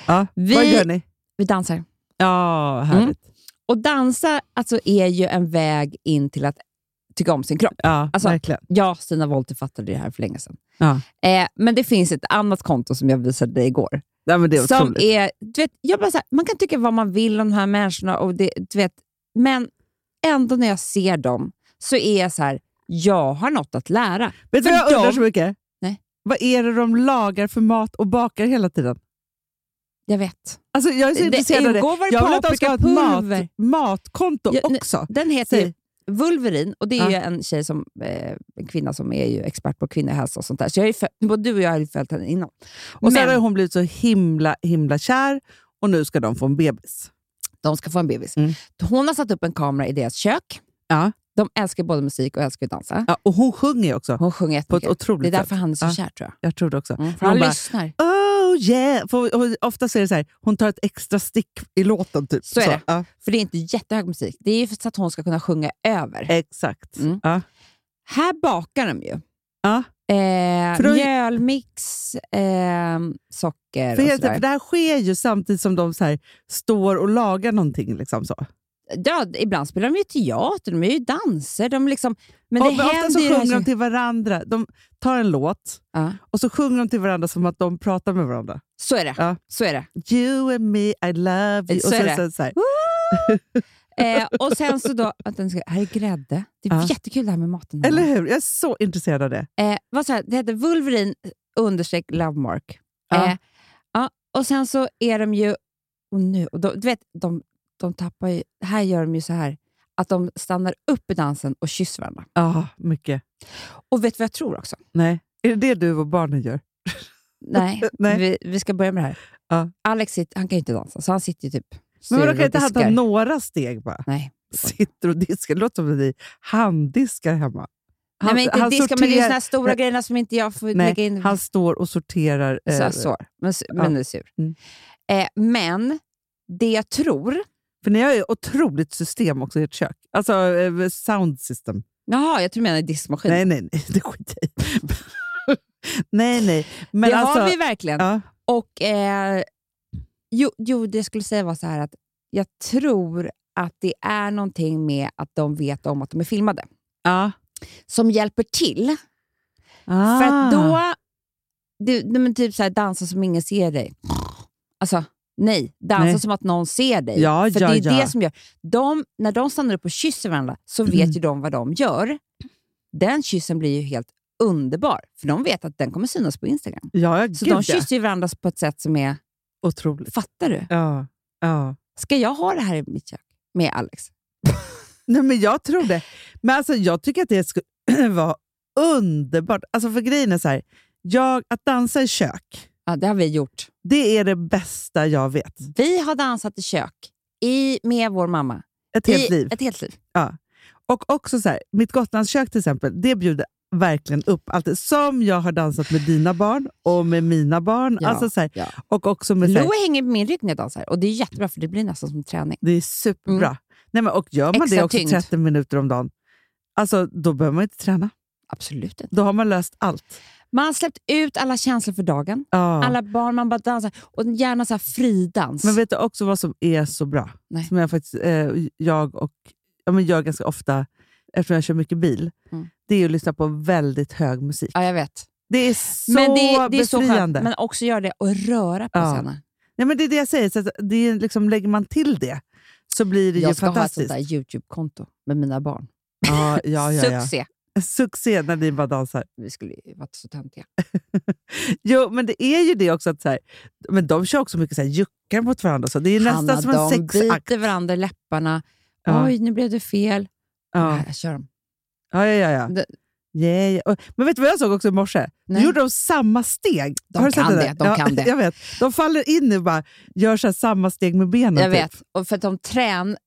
[SPEAKER 5] Ja.
[SPEAKER 4] Vi-
[SPEAKER 5] Vad gör ni? Mm.
[SPEAKER 4] Vi dansar.
[SPEAKER 5] Ja, härligt.
[SPEAKER 4] Och dansa alltså, är ju en väg in till att tycka om sin kropp.
[SPEAKER 5] Ja,
[SPEAKER 4] Alltså,
[SPEAKER 5] verkligen.
[SPEAKER 4] Ja, Stina Wollter fattade det här för länge sedan.
[SPEAKER 5] Ja.
[SPEAKER 4] Eh, men det finns ett annat konto som jag visade dig igår.
[SPEAKER 5] Ja, men det är
[SPEAKER 4] som
[SPEAKER 5] otroligt.
[SPEAKER 4] är, du vet, jag bara så här, man kan tycka vad man vill om de här människorna, och det, du vet, men ändå när jag ser dem så är jag så här, jag har något att lära.
[SPEAKER 5] Vet
[SPEAKER 4] För
[SPEAKER 5] du vad jag undrar
[SPEAKER 4] de-
[SPEAKER 5] så mycket?
[SPEAKER 4] Nej.
[SPEAKER 5] Vad är det de lagar för mat och bakar hela tiden?
[SPEAKER 4] Jag vet.
[SPEAKER 5] Alltså, jag är så intresserad av det.
[SPEAKER 4] ingår väl
[SPEAKER 5] Jag vill att de ska ha ett mat,
[SPEAKER 4] paprikapulver.
[SPEAKER 5] matkonto
[SPEAKER 4] Ja, nu-
[SPEAKER 5] också.
[SPEAKER 4] Den heter
[SPEAKER 5] Säg.
[SPEAKER 4] ju Vulverin och det är
[SPEAKER 5] Ja.
[SPEAKER 4] ju en tjej som, eh, en kvinna som är ju expert på kvinnohälsa och sånt där. Så jag är ju föl- både du och jag har ju följt henne innan.
[SPEAKER 5] Och sen
[SPEAKER 4] Men-
[SPEAKER 5] har hon blivit så himla himla kär och nu ska de få en bebis.
[SPEAKER 4] De ska få en bebis.
[SPEAKER 5] Mm.
[SPEAKER 4] Hon har satt upp en kamera i deras kök.
[SPEAKER 5] Ja.
[SPEAKER 4] De älskar både musik och älskar att dansa.
[SPEAKER 5] Ja, och hon sjunger ju också.
[SPEAKER 4] Hon sjunger
[SPEAKER 5] På ett
[SPEAKER 4] jättemycket. Det är
[SPEAKER 5] otroligt
[SPEAKER 4] därför
[SPEAKER 5] sätt.
[SPEAKER 4] han är så
[SPEAKER 5] Ja.
[SPEAKER 4] kär tror jag.
[SPEAKER 5] Jag tror det också.
[SPEAKER 4] Mm, för
[SPEAKER 5] Hon
[SPEAKER 4] han
[SPEAKER 5] bara,
[SPEAKER 4] lyssnar.
[SPEAKER 5] Oh yeah! För, och ofta så är det så här, hon tar ett extra stick i låten. Typ.
[SPEAKER 4] Så är det.
[SPEAKER 5] Ja,
[SPEAKER 4] För det är inte jättehög musik. Det är ju för att hon ska kunna sjunga över.
[SPEAKER 5] exakt.
[SPEAKER 4] Mm.
[SPEAKER 5] Ja.
[SPEAKER 4] Här bakar de ju.
[SPEAKER 5] Ja.
[SPEAKER 4] Eh,
[SPEAKER 5] För då-
[SPEAKER 4] mjölmix, eh, socker
[SPEAKER 5] För,
[SPEAKER 4] och
[SPEAKER 5] helt, för
[SPEAKER 4] sådär.
[SPEAKER 5] det här sker ju samtidigt som de så här, står och lagar någonting. Liksom så.
[SPEAKER 4] Ja, ibland spelar de ju teater, de är ju danser. De liksom, men
[SPEAKER 5] och,
[SPEAKER 4] det
[SPEAKER 5] men ofta så
[SPEAKER 4] händer ju det
[SPEAKER 5] sjunger
[SPEAKER 4] här...
[SPEAKER 5] de till varandra. De tar en låt
[SPEAKER 4] Ja,
[SPEAKER 5] och så sjunger de till varandra som att de pratar med varandra.
[SPEAKER 4] så är det.
[SPEAKER 5] Ja.
[SPEAKER 4] Så är det.
[SPEAKER 5] You and me, I love you.
[SPEAKER 4] Så
[SPEAKER 5] och
[SPEAKER 4] är
[SPEAKER 5] sen,
[SPEAKER 4] det.
[SPEAKER 5] sen så här,
[SPEAKER 4] Eh, och sen så då... Vänta, nu ska jag- här är grädde. Det är
[SPEAKER 5] Ja.
[SPEAKER 4] jättekul det här med maten.
[SPEAKER 5] Eller hur? Jag är så intresserad av det.
[SPEAKER 4] Eh, vad så här, det heter Wolverine eh, understreck Lovemark.
[SPEAKER 5] Ja.
[SPEAKER 4] Eh, ja, och sen så är de ju... Och nu, och de, du vet, de, de tappar ju... Här gör de ju så här att de stannar upp i dansen och kysser varandra.
[SPEAKER 5] Ja, mycket.
[SPEAKER 4] Och vet du vad jag tror också?
[SPEAKER 5] Nej. Är det det du och barnen gör?
[SPEAKER 4] Eh, Nej,
[SPEAKER 5] Nej.
[SPEAKER 4] Vi, vi ska börja med det här.
[SPEAKER 5] Ja.
[SPEAKER 4] Alex sitter, han kan ju inte dansa, så han sitter ju typ
[SPEAKER 5] Men vadå, kan
[SPEAKER 4] sur
[SPEAKER 5] inte
[SPEAKER 4] och
[SPEAKER 5] han ta
[SPEAKER 4] diskar.
[SPEAKER 5] några steg bara?
[SPEAKER 4] Nej.
[SPEAKER 5] Sitter och diskar. Det låter som att ni handdiskar hemma.
[SPEAKER 4] Nej, men inte diska, men det är ju såna här stora
[SPEAKER 5] Nej.
[SPEAKER 4] grejerna som inte jag får lägga
[SPEAKER 5] nej,
[SPEAKER 4] in.
[SPEAKER 5] han står och sorterar. eh,
[SPEAKER 4] så, så, men, su- men är sur.
[SPEAKER 5] Mm.
[SPEAKER 4] Eh, men det jag tror...
[SPEAKER 5] För ni har ju otroligt system också i ert kök. Alltså eh, sound system.
[SPEAKER 4] Jaha, jag tror du menar diskmaskin.
[SPEAKER 5] Nej, nej, nej. Det skiter jag i. Nej, nej. Men
[SPEAKER 4] det
[SPEAKER 5] alltså,
[SPEAKER 4] har vi verkligen.
[SPEAKER 5] ja,
[SPEAKER 4] Och, eh, jo, jo, det jag skulle säga var så här att jag tror att det är någonting med att de vet om att de är filmade
[SPEAKER 5] ja.
[SPEAKER 4] som hjälper till.
[SPEAKER 5] Ah.
[SPEAKER 4] För att då... Du, nej, men typ så här, dansa som ingen ser dig. Alltså, nej. Dansa
[SPEAKER 5] Nej.
[SPEAKER 4] som att någon ser dig.
[SPEAKER 5] Ja,
[SPEAKER 4] För
[SPEAKER 5] ja,
[SPEAKER 4] det är
[SPEAKER 5] ja.
[SPEAKER 4] det som gör... De, när de stannar upp och kysser varandra så vet
[SPEAKER 5] Mm.
[SPEAKER 4] ju de vad de gör. Den kyssen blir ju helt underbar, för de vet att den kommer synas på Instagram.
[SPEAKER 5] Ja,
[SPEAKER 4] Så
[SPEAKER 5] gud,
[SPEAKER 4] de
[SPEAKER 5] ja.
[SPEAKER 4] kysser ju varandra på ett sätt som är...
[SPEAKER 5] Otroligt.
[SPEAKER 4] Fattar du?
[SPEAKER 5] Ja, ja.
[SPEAKER 4] Ska jag ha det här i mitt kök med Alex?
[SPEAKER 5] Nej, men jag tror det. Men alltså, jag tycker att det skulle vara underbart. Alltså, för grejen är så här, jag, att dansa i kök,
[SPEAKER 4] Ja, det har vi gjort.
[SPEAKER 5] det är det bästa jag vet.
[SPEAKER 4] Vi har dansat i kök i, med vår mamma.
[SPEAKER 5] Ett helt
[SPEAKER 4] I,
[SPEAKER 5] liv.
[SPEAKER 4] Ett helt liv.
[SPEAKER 5] Och också så här, mitt Gotlandskök till exempel, det bjuder verkligen upp allt. det Som jag har dansat med dina barn och med mina barn.
[SPEAKER 4] Ja,
[SPEAKER 5] alltså så här,
[SPEAKER 4] ja.
[SPEAKER 5] Och också med... Så här,
[SPEAKER 4] Louie hänger på min rygg när jag dansar och det är jättebra för det blir nästan som träning.
[SPEAKER 5] det är superbra. Nej, men, och gör man
[SPEAKER 4] Mm. Extra
[SPEAKER 5] det också
[SPEAKER 4] tyngd.
[SPEAKER 5] 30 minuter om dagen, alltså, då behöver man inte träna.
[SPEAKER 4] Absolut inte.
[SPEAKER 5] Då har man löst allt.
[SPEAKER 4] Man har släppt ut alla känslor för dagen.
[SPEAKER 5] Ja.
[SPEAKER 4] Alla barn, man bara dansar. Och gärna så här fridans.
[SPEAKER 5] Men vet du också vad som är så bra?
[SPEAKER 4] Nej.
[SPEAKER 5] Som jag faktiskt, eh, jag och ja, men jag ganska ofta, eftersom jag kör mycket bil,
[SPEAKER 4] Mm.
[SPEAKER 5] det är ju att lyssna på väldigt hög musik.
[SPEAKER 4] ja, jag vet.
[SPEAKER 5] Det är så
[SPEAKER 4] men det, är- det är så skönt.
[SPEAKER 5] befriande.
[SPEAKER 4] Men också göra det och röra på
[SPEAKER 5] Ja.
[SPEAKER 4] sig. Anna.
[SPEAKER 5] Nej, men det är det jag säger, så att det är liksom, lägger man till det så blir det ju
[SPEAKER 4] Jag ska ha ett sånt
[SPEAKER 5] fantastiskt.
[SPEAKER 4] där YouTube-konto med mina barn.
[SPEAKER 5] ja, ja, ja, ja.
[SPEAKER 4] Succé!
[SPEAKER 5] Succé när ni bara dansar.
[SPEAKER 4] Vi skulle ju varit så töntiga.
[SPEAKER 5] Jo, men det är ju det också att så här, men de kör också mycket så här, juckar mot varandra. och Så. Det är nästan som en
[SPEAKER 4] de
[SPEAKER 5] sexakt.
[SPEAKER 4] biter varandra i läpparna.
[SPEAKER 5] Ja.
[SPEAKER 4] Oj, nu blev det fel.
[SPEAKER 5] Ja.
[SPEAKER 4] Nej, Jag kör dem.
[SPEAKER 5] Ja, ja, ja. ja.
[SPEAKER 4] Det-
[SPEAKER 5] Yeah, yeah. Och- Men vet du vad jag såg också i morse? Nu
[SPEAKER 4] Nej.
[SPEAKER 5] gjorde de samma steg.
[SPEAKER 4] De
[SPEAKER 5] Har du sett
[SPEAKER 4] kan
[SPEAKER 5] där?
[SPEAKER 4] det, de kan det.
[SPEAKER 5] Jag vet. De faller in nu och bara gör så här samma steg med benen.
[SPEAKER 4] Jag
[SPEAKER 5] typ.
[SPEAKER 4] vet. Och för att de trän...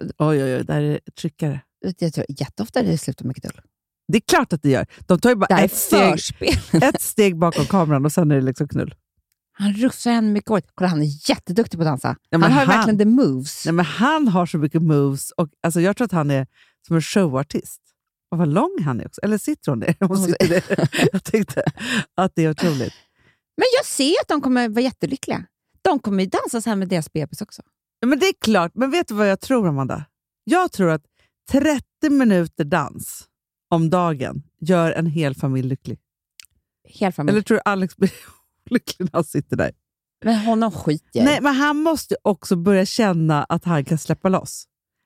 [SPEAKER 5] Oj, oj, oj. Där är tryckare.
[SPEAKER 4] Jag tror jätteofta det slutar med knull.
[SPEAKER 5] Det är klart att det gör. De tar ju
[SPEAKER 4] Det
[SPEAKER 5] bara
[SPEAKER 4] här är
[SPEAKER 5] ett steg,
[SPEAKER 4] förspel.
[SPEAKER 5] ett steg bakom kameran och sen är det liksom knull.
[SPEAKER 4] Han rufsar henne mycket hårt. Kolla, han är jätteduktig på att dansa.
[SPEAKER 5] Ja,
[SPEAKER 4] han
[SPEAKER 5] men
[SPEAKER 4] har
[SPEAKER 5] han-
[SPEAKER 4] verkligen the moves.
[SPEAKER 5] Nej, men han har så mycket moves. Och, alltså, jag tror att han är som en showartist. Och vad lång han är också. Eller sitter hon ner? Hon
[SPEAKER 4] Hon-
[SPEAKER 5] sitter ner. Jag tyckte att det är otroligt.
[SPEAKER 4] Men jag ser att de kommer vara jättelyckliga. De kommer ju dansa så här med deras bebis också.
[SPEAKER 5] Ja, Men det är klart. Men vet du vad jag tror, Amanda? Jag tror att 30 minuter dans om dagen gör en hel familj lycklig.
[SPEAKER 4] Helt framme.
[SPEAKER 5] Eller tror du Alex blir lycklig när han sitter där?
[SPEAKER 4] Men honom skiter jag i.
[SPEAKER 5] Nej, men han måste ju också börja känna att han kan släppa loss.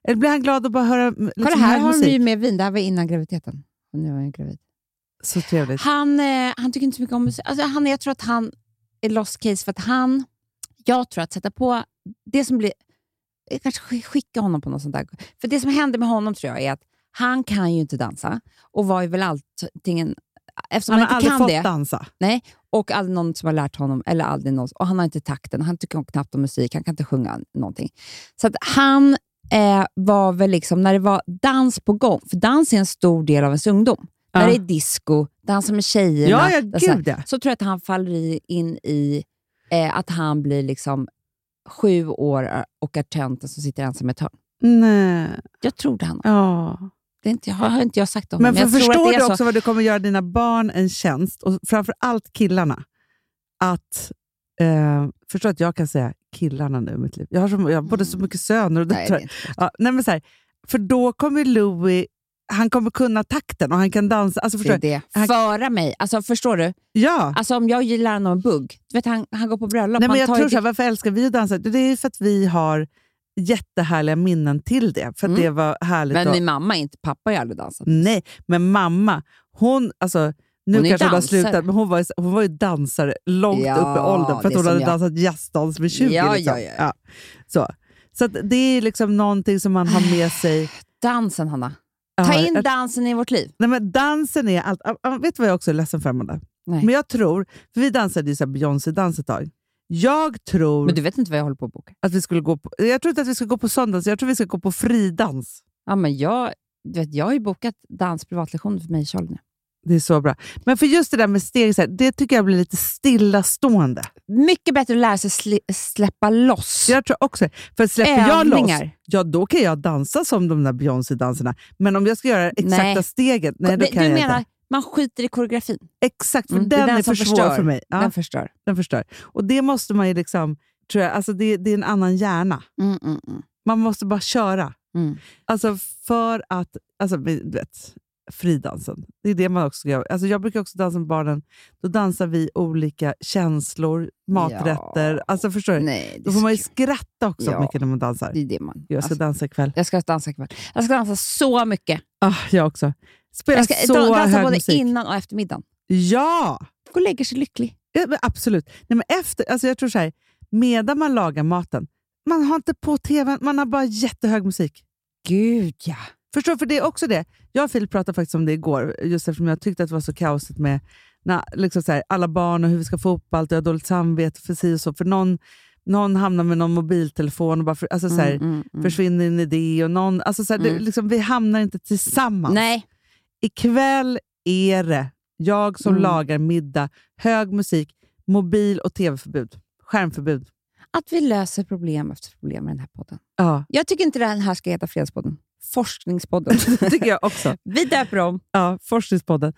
[SPEAKER 5] Eller blir han glad att bara höra mm, liksom,
[SPEAKER 4] Kolla, här
[SPEAKER 5] hög
[SPEAKER 4] har hon
[SPEAKER 5] musik?
[SPEAKER 4] ju med vin. Det här var innan graviditeten. Och nu är hon gravid.
[SPEAKER 5] Så trevligt.
[SPEAKER 4] Han, eh, han tycker inte så mycket om musik. Alltså, han, jag tror att han är lost case för att han... Jag tror att sätta på... Det som blir... Jag kanske sk- skicka honom på något sånt där. För det som händer med honom tror jag är att han kan ju inte dansa och var ju väl allting... Eftersom
[SPEAKER 5] Han
[SPEAKER 4] han,
[SPEAKER 5] har
[SPEAKER 4] inte
[SPEAKER 5] aldrig
[SPEAKER 4] kan
[SPEAKER 5] fått
[SPEAKER 4] det
[SPEAKER 5] dansa.
[SPEAKER 4] Nej, och aldrig någon som har lärt honom, eller aldrig någon, och han har inte takten, han tycker knappt om musik, han kan inte sjunga någonting. Så att han eh, var väl liksom när det var dans på gång, för dans är en stor del av ens ungdom.
[SPEAKER 5] Ja.
[SPEAKER 4] När det Alltså. är disco, dansa med tjejerna.
[SPEAKER 5] Ja, ja,
[SPEAKER 4] dansa-
[SPEAKER 5] gud, ja.
[SPEAKER 4] Så tror jag att han faller i- in i eh, att han blir liksom sju år eh, och är tönten som sitter ensam i ett hörn.
[SPEAKER 5] Nej.
[SPEAKER 4] Jag tror det, Hanna.
[SPEAKER 5] Ja.
[SPEAKER 4] Det är inte, har, har inte jag sagt om
[SPEAKER 5] Men
[SPEAKER 4] det,
[SPEAKER 5] för
[SPEAKER 4] men jag tror
[SPEAKER 5] förstår
[SPEAKER 4] att det
[SPEAKER 5] du
[SPEAKER 4] är
[SPEAKER 5] också
[SPEAKER 4] så.
[SPEAKER 5] vad du kommer göra dina barn en tjänst, och framför allt killarna, att eh, förstå att jag kan säga killarna nu i mitt liv. Jag har, så, jag har både så mycket söner och
[SPEAKER 4] Mm. Nej, det är
[SPEAKER 5] döttrar.
[SPEAKER 4] inte.
[SPEAKER 5] Ja, nej men så här, för då kommer Louis, han kommer kunna takten och han kan dansa. Alltså,
[SPEAKER 4] Det
[SPEAKER 5] förstår
[SPEAKER 4] är
[SPEAKER 5] du?
[SPEAKER 4] det.
[SPEAKER 5] Han-
[SPEAKER 4] Föra mig. Alltså, förstår du?
[SPEAKER 5] Ja.
[SPEAKER 4] Alltså, om jag gillar någon bugg, du vet, han, han går på bröllop.
[SPEAKER 5] Nej, men
[SPEAKER 4] han
[SPEAKER 5] jag
[SPEAKER 4] tar
[SPEAKER 5] tror
[SPEAKER 4] ju
[SPEAKER 5] så här, varför älskar vi att dansa? Det är ju för att vi har jättehärliga minnen till det. För att
[SPEAKER 4] Mm.
[SPEAKER 5] det var härligt.
[SPEAKER 4] Men
[SPEAKER 5] att-
[SPEAKER 4] min mamma är inte, pappa har ju aldrig dansat.
[SPEAKER 5] Nej, men mamma, hon, alltså, nu
[SPEAKER 4] Hon är
[SPEAKER 5] kanske hon har
[SPEAKER 4] dansare.
[SPEAKER 5] slutat, men hon var, ju- hon var ju dansare långt
[SPEAKER 4] Ja,
[SPEAKER 5] upp i åldern för att
[SPEAKER 4] det
[SPEAKER 5] hon
[SPEAKER 4] som
[SPEAKER 5] hade
[SPEAKER 4] jag.
[SPEAKER 5] dansat jazzdans med 20.
[SPEAKER 4] Ja,
[SPEAKER 5] liksom.
[SPEAKER 4] ja, ja, ja.
[SPEAKER 5] Så, så att det är liksom någonting som man har med sig.
[SPEAKER 4] Dansen, Hanna.
[SPEAKER 5] Ja,
[SPEAKER 4] Ta in
[SPEAKER 5] jag-
[SPEAKER 4] dansen i vårt liv.
[SPEAKER 5] Nej, men dansen är allt. ah, ah, Vet du vad jag också är ledsen för, Amanda?
[SPEAKER 4] Nej.
[SPEAKER 5] Men jag tror, för vi dansade ju så här Beyoncé-dans ett tag. Jag tror,
[SPEAKER 4] Men du vet inte vad jag håller på att boka.
[SPEAKER 5] att vi skulle gå på, jag tror inte att vi ska gå på söndags, jag tror vi ska gå på fridans.
[SPEAKER 4] Ja, men jag, du vet, jag har ju bokat dans privatlektioner för mig i Tjold nu.
[SPEAKER 5] Det är så bra. Men för just det där med steg, så här, det tycker jag blir lite stillastående.
[SPEAKER 4] Mycket bättre att lära sig sli- släppa loss.
[SPEAKER 5] Jag tror också För släpper jag loss,
[SPEAKER 4] Övningar.
[SPEAKER 5] ja, då kan jag dansa som de där Beyoncé-danserna. Men om jag ska göra exakta
[SPEAKER 4] Nej.
[SPEAKER 5] steget, nej, då
[SPEAKER 4] Nej,
[SPEAKER 5] kan
[SPEAKER 4] du
[SPEAKER 5] jag
[SPEAKER 4] menar,
[SPEAKER 5] inte.
[SPEAKER 4] man skiter i koreografin.
[SPEAKER 5] Exakt, för
[SPEAKER 4] Mm, det är
[SPEAKER 5] den,
[SPEAKER 4] den
[SPEAKER 5] är för
[SPEAKER 4] som
[SPEAKER 5] svår
[SPEAKER 4] förstör.
[SPEAKER 5] för mig. Ja,
[SPEAKER 4] Den
[SPEAKER 5] den,
[SPEAKER 4] förstör.
[SPEAKER 5] förstör. Och det måste man ju liksom, tror jag, alltså det, det är en annan hjärna.
[SPEAKER 4] Mm, mm, mm.
[SPEAKER 5] Man måste bara köra.
[SPEAKER 4] Mm.
[SPEAKER 5] Alltså för att, alltså vi- du vet, fridansen. Det är det man också gör. Alltså jag brukar också dansa med barnen. Då dansar vi olika känslor, maträtter.
[SPEAKER 4] Ja.
[SPEAKER 5] Alltså förstår du?
[SPEAKER 4] Nej, det
[SPEAKER 5] Då
[SPEAKER 4] är,
[SPEAKER 5] får man ju
[SPEAKER 4] så kul.
[SPEAKER 5] skratta också
[SPEAKER 4] Ja.
[SPEAKER 5] mycket när man dansar.
[SPEAKER 4] det är det man...
[SPEAKER 5] Jag ska
[SPEAKER 4] alltså,
[SPEAKER 5] dansa ikväll.
[SPEAKER 4] jag ska dansa ikväll. Jag ska dansa så mycket.
[SPEAKER 5] Ah, jag också. Spela
[SPEAKER 4] Jag ska
[SPEAKER 5] så
[SPEAKER 4] dan- dansa
[SPEAKER 5] hög
[SPEAKER 4] både
[SPEAKER 5] musik.
[SPEAKER 4] innan och efter middagen.
[SPEAKER 5] Ja,
[SPEAKER 4] Gå och lägger sig lycklig.
[SPEAKER 5] Ja, men absolut. Nej, men efter, alltså jag tror så här, medan man lagar maten, man har inte på tvn, man har bara jättehög musik.
[SPEAKER 4] Gud, ja.
[SPEAKER 5] Förstår du? För det är också det. Jag och Filip pratade faktiskt om det igår, just eftersom jag tyckte att det var så kaosigt med när, liksom så här, alla barn och hur vi ska få ihop allt. Jag har dåligt samvete för si och så. För någon, någon hamnar med någon mobiltelefon och bara för, alltså så här, försvinner en idé. Och någon, alltså så här, det,
[SPEAKER 4] Mm.
[SPEAKER 5] liksom, vi hamnar inte tillsammans.
[SPEAKER 4] Nej,
[SPEAKER 5] Ikväll är det jag som
[SPEAKER 4] Mm.
[SPEAKER 5] lagar middag, hög musik, mobil och tv-förbud. Skärmförbud.
[SPEAKER 4] att vi löser problem efter problem med den här podden.
[SPEAKER 5] Ja,
[SPEAKER 4] Jag tycker inte den här ska heta Fredagspodden. Forskningspodden.
[SPEAKER 5] det tycker jag också.
[SPEAKER 4] Vi döper om.
[SPEAKER 5] Ja, Forskningspodden.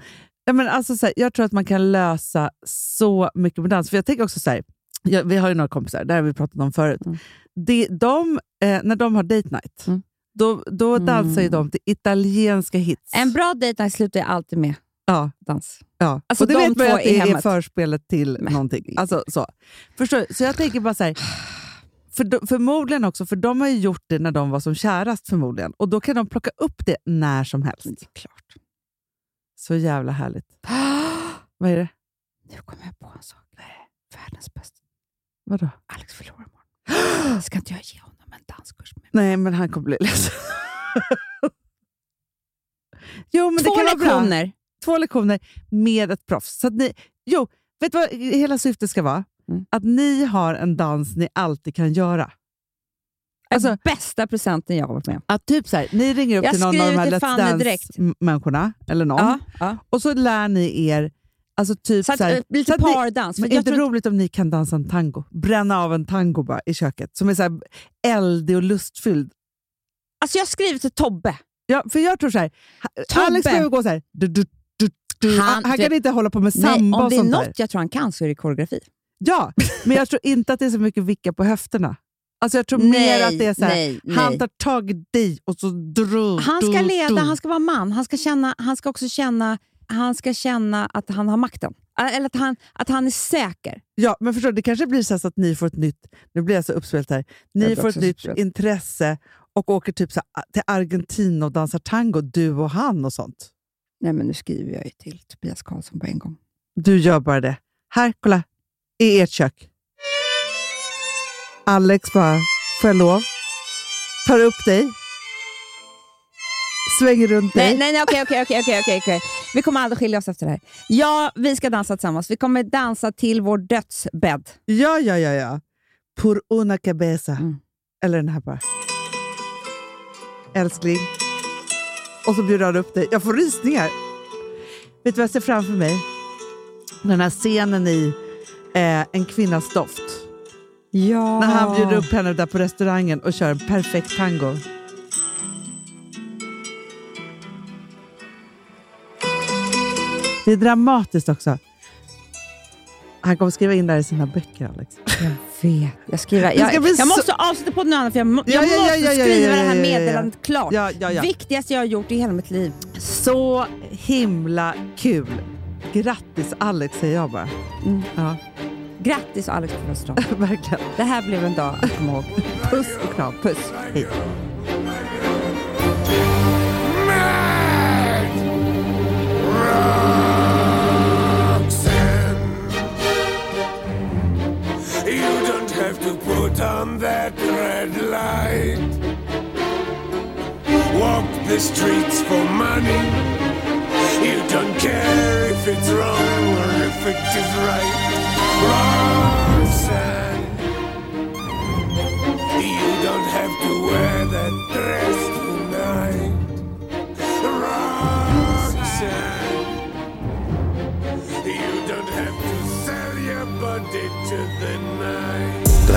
[SPEAKER 5] Ja, men alltså så här, jag tror att man kan lösa så mycket med dans. För jag tänker också så här, jag, vi har ju några kompisar, det här har vi pratat om förut.
[SPEAKER 4] Mm.
[SPEAKER 5] Det, de, eh, när de har date night,
[SPEAKER 4] Mm.
[SPEAKER 5] då, då dansar ju
[SPEAKER 4] Mm.
[SPEAKER 5] de till italienska hits.
[SPEAKER 4] En bra date night slutar jag alltid med
[SPEAKER 5] ja,
[SPEAKER 4] dans.
[SPEAKER 5] ja.
[SPEAKER 4] Alltså,
[SPEAKER 5] och det
[SPEAKER 4] de
[SPEAKER 5] vet man ju
[SPEAKER 4] två
[SPEAKER 5] att
[SPEAKER 4] i
[SPEAKER 5] det är
[SPEAKER 4] hemmet.
[SPEAKER 5] förspelet till
[SPEAKER 4] Men-
[SPEAKER 5] någonting. Alltså, så. Förstår, du? så jag tänker bara så här, för de, förmodligen också, för de har ju gjort det när de var som kärast förmodligen. Och då kan de plocka upp det när som helst.
[SPEAKER 4] Men det är klart.
[SPEAKER 5] Så jävla härligt. Vad är det?
[SPEAKER 4] Nu kommer jag på en sak. Världens bästa.
[SPEAKER 5] Vadå?
[SPEAKER 4] Alex förlorar imorgon. Ska inte jag ge honom en danskurs? Med?
[SPEAKER 5] Nej, men han kommer bli ledsen. jo, men
[SPEAKER 4] Två
[SPEAKER 5] det kan Vara bra.
[SPEAKER 4] lektioner.
[SPEAKER 5] Två lektioner med ett proffs. Så att ni, jo, vet du vad hela syftet ska vara?
[SPEAKER 4] Mm.
[SPEAKER 5] Att ni har en dans ni alltid kan göra. Alltså-
[SPEAKER 4] Bästa presenten jag har varit med om.
[SPEAKER 5] Att typ så här, ni ringer upp
[SPEAKER 4] Jag
[SPEAKER 5] till någon av de
[SPEAKER 4] skriver
[SPEAKER 5] här
[SPEAKER 4] till
[SPEAKER 5] Let's
[SPEAKER 4] Fanny direkt.
[SPEAKER 5] Dance-människorna, eller någon, och så lär ni er Alltså typ
[SPEAKER 4] Mm. Så att,
[SPEAKER 5] så här,
[SPEAKER 4] eh, lite
[SPEAKER 5] så att ni-
[SPEAKER 4] pardans. För
[SPEAKER 5] Men
[SPEAKER 4] jag
[SPEAKER 5] är det inte
[SPEAKER 4] tror-
[SPEAKER 5] roligt om ni kan dansa en tango? Bränna av en tango bara i köket som är så här eldig och lustfylld.
[SPEAKER 4] Alltså jag skriver till Tobbe.
[SPEAKER 5] Ja, för jag tror så här, ha-
[SPEAKER 4] Tobbe.
[SPEAKER 5] Alex behöver gå så här. Du, du, du, du. Han,
[SPEAKER 4] Han-
[SPEAKER 5] han kan
[SPEAKER 4] du-
[SPEAKER 5] inte hålla på med
[SPEAKER 4] Nej,
[SPEAKER 5] samba
[SPEAKER 4] om
[SPEAKER 5] och
[SPEAKER 4] det är
[SPEAKER 5] sånt där.
[SPEAKER 4] något jag tror han kan så är det koreografi.
[SPEAKER 5] Ja, men jag tror inte att det är så mycket vicka på höfterna. Alltså jag tror mer att det är så här,
[SPEAKER 4] nej, nej.
[SPEAKER 5] han tar tag i dig och så dro,
[SPEAKER 4] Han ska
[SPEAKER 5] dro,
[SPEAKER 4] leda,
[SPEAKER 5] dro.
[SPEAKER 4] han ska vara man. Han ska, känna, han ska också känna, han ska känna att han har makten. Ä- Eller att han, att han är säker.
[SPEAKER 5] Ja, men förstår du, det kanske blir så, här så att ni får ett nytt, nu blir jag så uppspelt här,
[SPEAKER 4] Jag
[SPEAKER 5] ni
[SPEAKER 4] blir
[SPEAKER 5] får ett
[SPEAKER 4] också
[SPEAKER 5] nytt
[SPEAKER 4] uppspelt.
[SPEAKER 5] intresse och åker typ så här, till Argentina och dansar tango, du och han och sånt.
[SPEAKER 4] Nej, men nu skriver jag ju till Tobias Karlsson på en gång.
[SPEAKER 5] Du gör bara det. Här, kolla. I ert kök. Alex bara, får jag lov? Tar upp dig. Svänger runt
[SPEAKER 4] Nej,
[SPEAKER 5] dig.
[SPEAKER 4] nej, nej, okej, okej, okej, okej, okej, okej. Vi kommer aldrig skilja oss efter det här. Ja, vi ska dansa tillsammans. Vi kommer dansa till vår dödsbädd.
[SPEAKER 5] Ja, ja, ja, ja. Por una cabeza.
[SPEAKER 4] Mm.
[SPEAKER 5] Eller den här bara. älskling. Och så bjuder han upp dig. Jag får rysningar. Vet du vad jag ser framför mig? Den här scenen i eh, En kvinnas doft.
[SPEAKER 4] Ja.
[SPEAKER 5] När han bjuder upp henne där på restaurangen och kör en perfekt tango. Det är dramatiskt också. Han kommer skriva in det här i sina böcker, Alex.
[SPEAKER 4] Jag vet. Jag, skriver,
[SPEAKER 5] Det
[SPEAKER 4] jag,
[SPEAKER 5] ska bli
[SPEAKER 4] jag
[SPEAKER 5] så-
[SPEAKER 4] måste avsluta på något annat för jag, må,
[SPEAKER 5] Ja,
[SPEAKER 4] jag
[SPEAKER 5] ja, ja,
[SPEAKER 4] måste
[SPEAKER 5] ja, ja,
[SPEAKER 4] skriva
[SPEAKER 5] ja, ja,
[SPEAKER 4] det här
[SPEAKER 5] ja, ja.
[SPEAKER 4] meddelandet klart.
[SPEAKER 5] Ja, ja, ja.
[SPEAKER 4] Viktigaste jag har gjort i hela mitt liv.
[SPEAKER 5] Så himla kul! Grattis Alex, säger jag bara. Ja,
[SPEAKER 4] Grattis Alex på födelsedagen.
[SPEAKER 5] verkligen.
[SPEAKER 4] Det här blev en dag att komma ihåg.
[SPEAKER 5] Puss och kram. Puss. Hej.
[SPEAKER 10] You don't have to put on that red light. Walk the streets for money. You don't care if it's wrong or if it is right. Roxanne, you don't have to wear that dress tonight. Roxanne. You don't have to sell your body to the night.
[SPEAKER 11] Den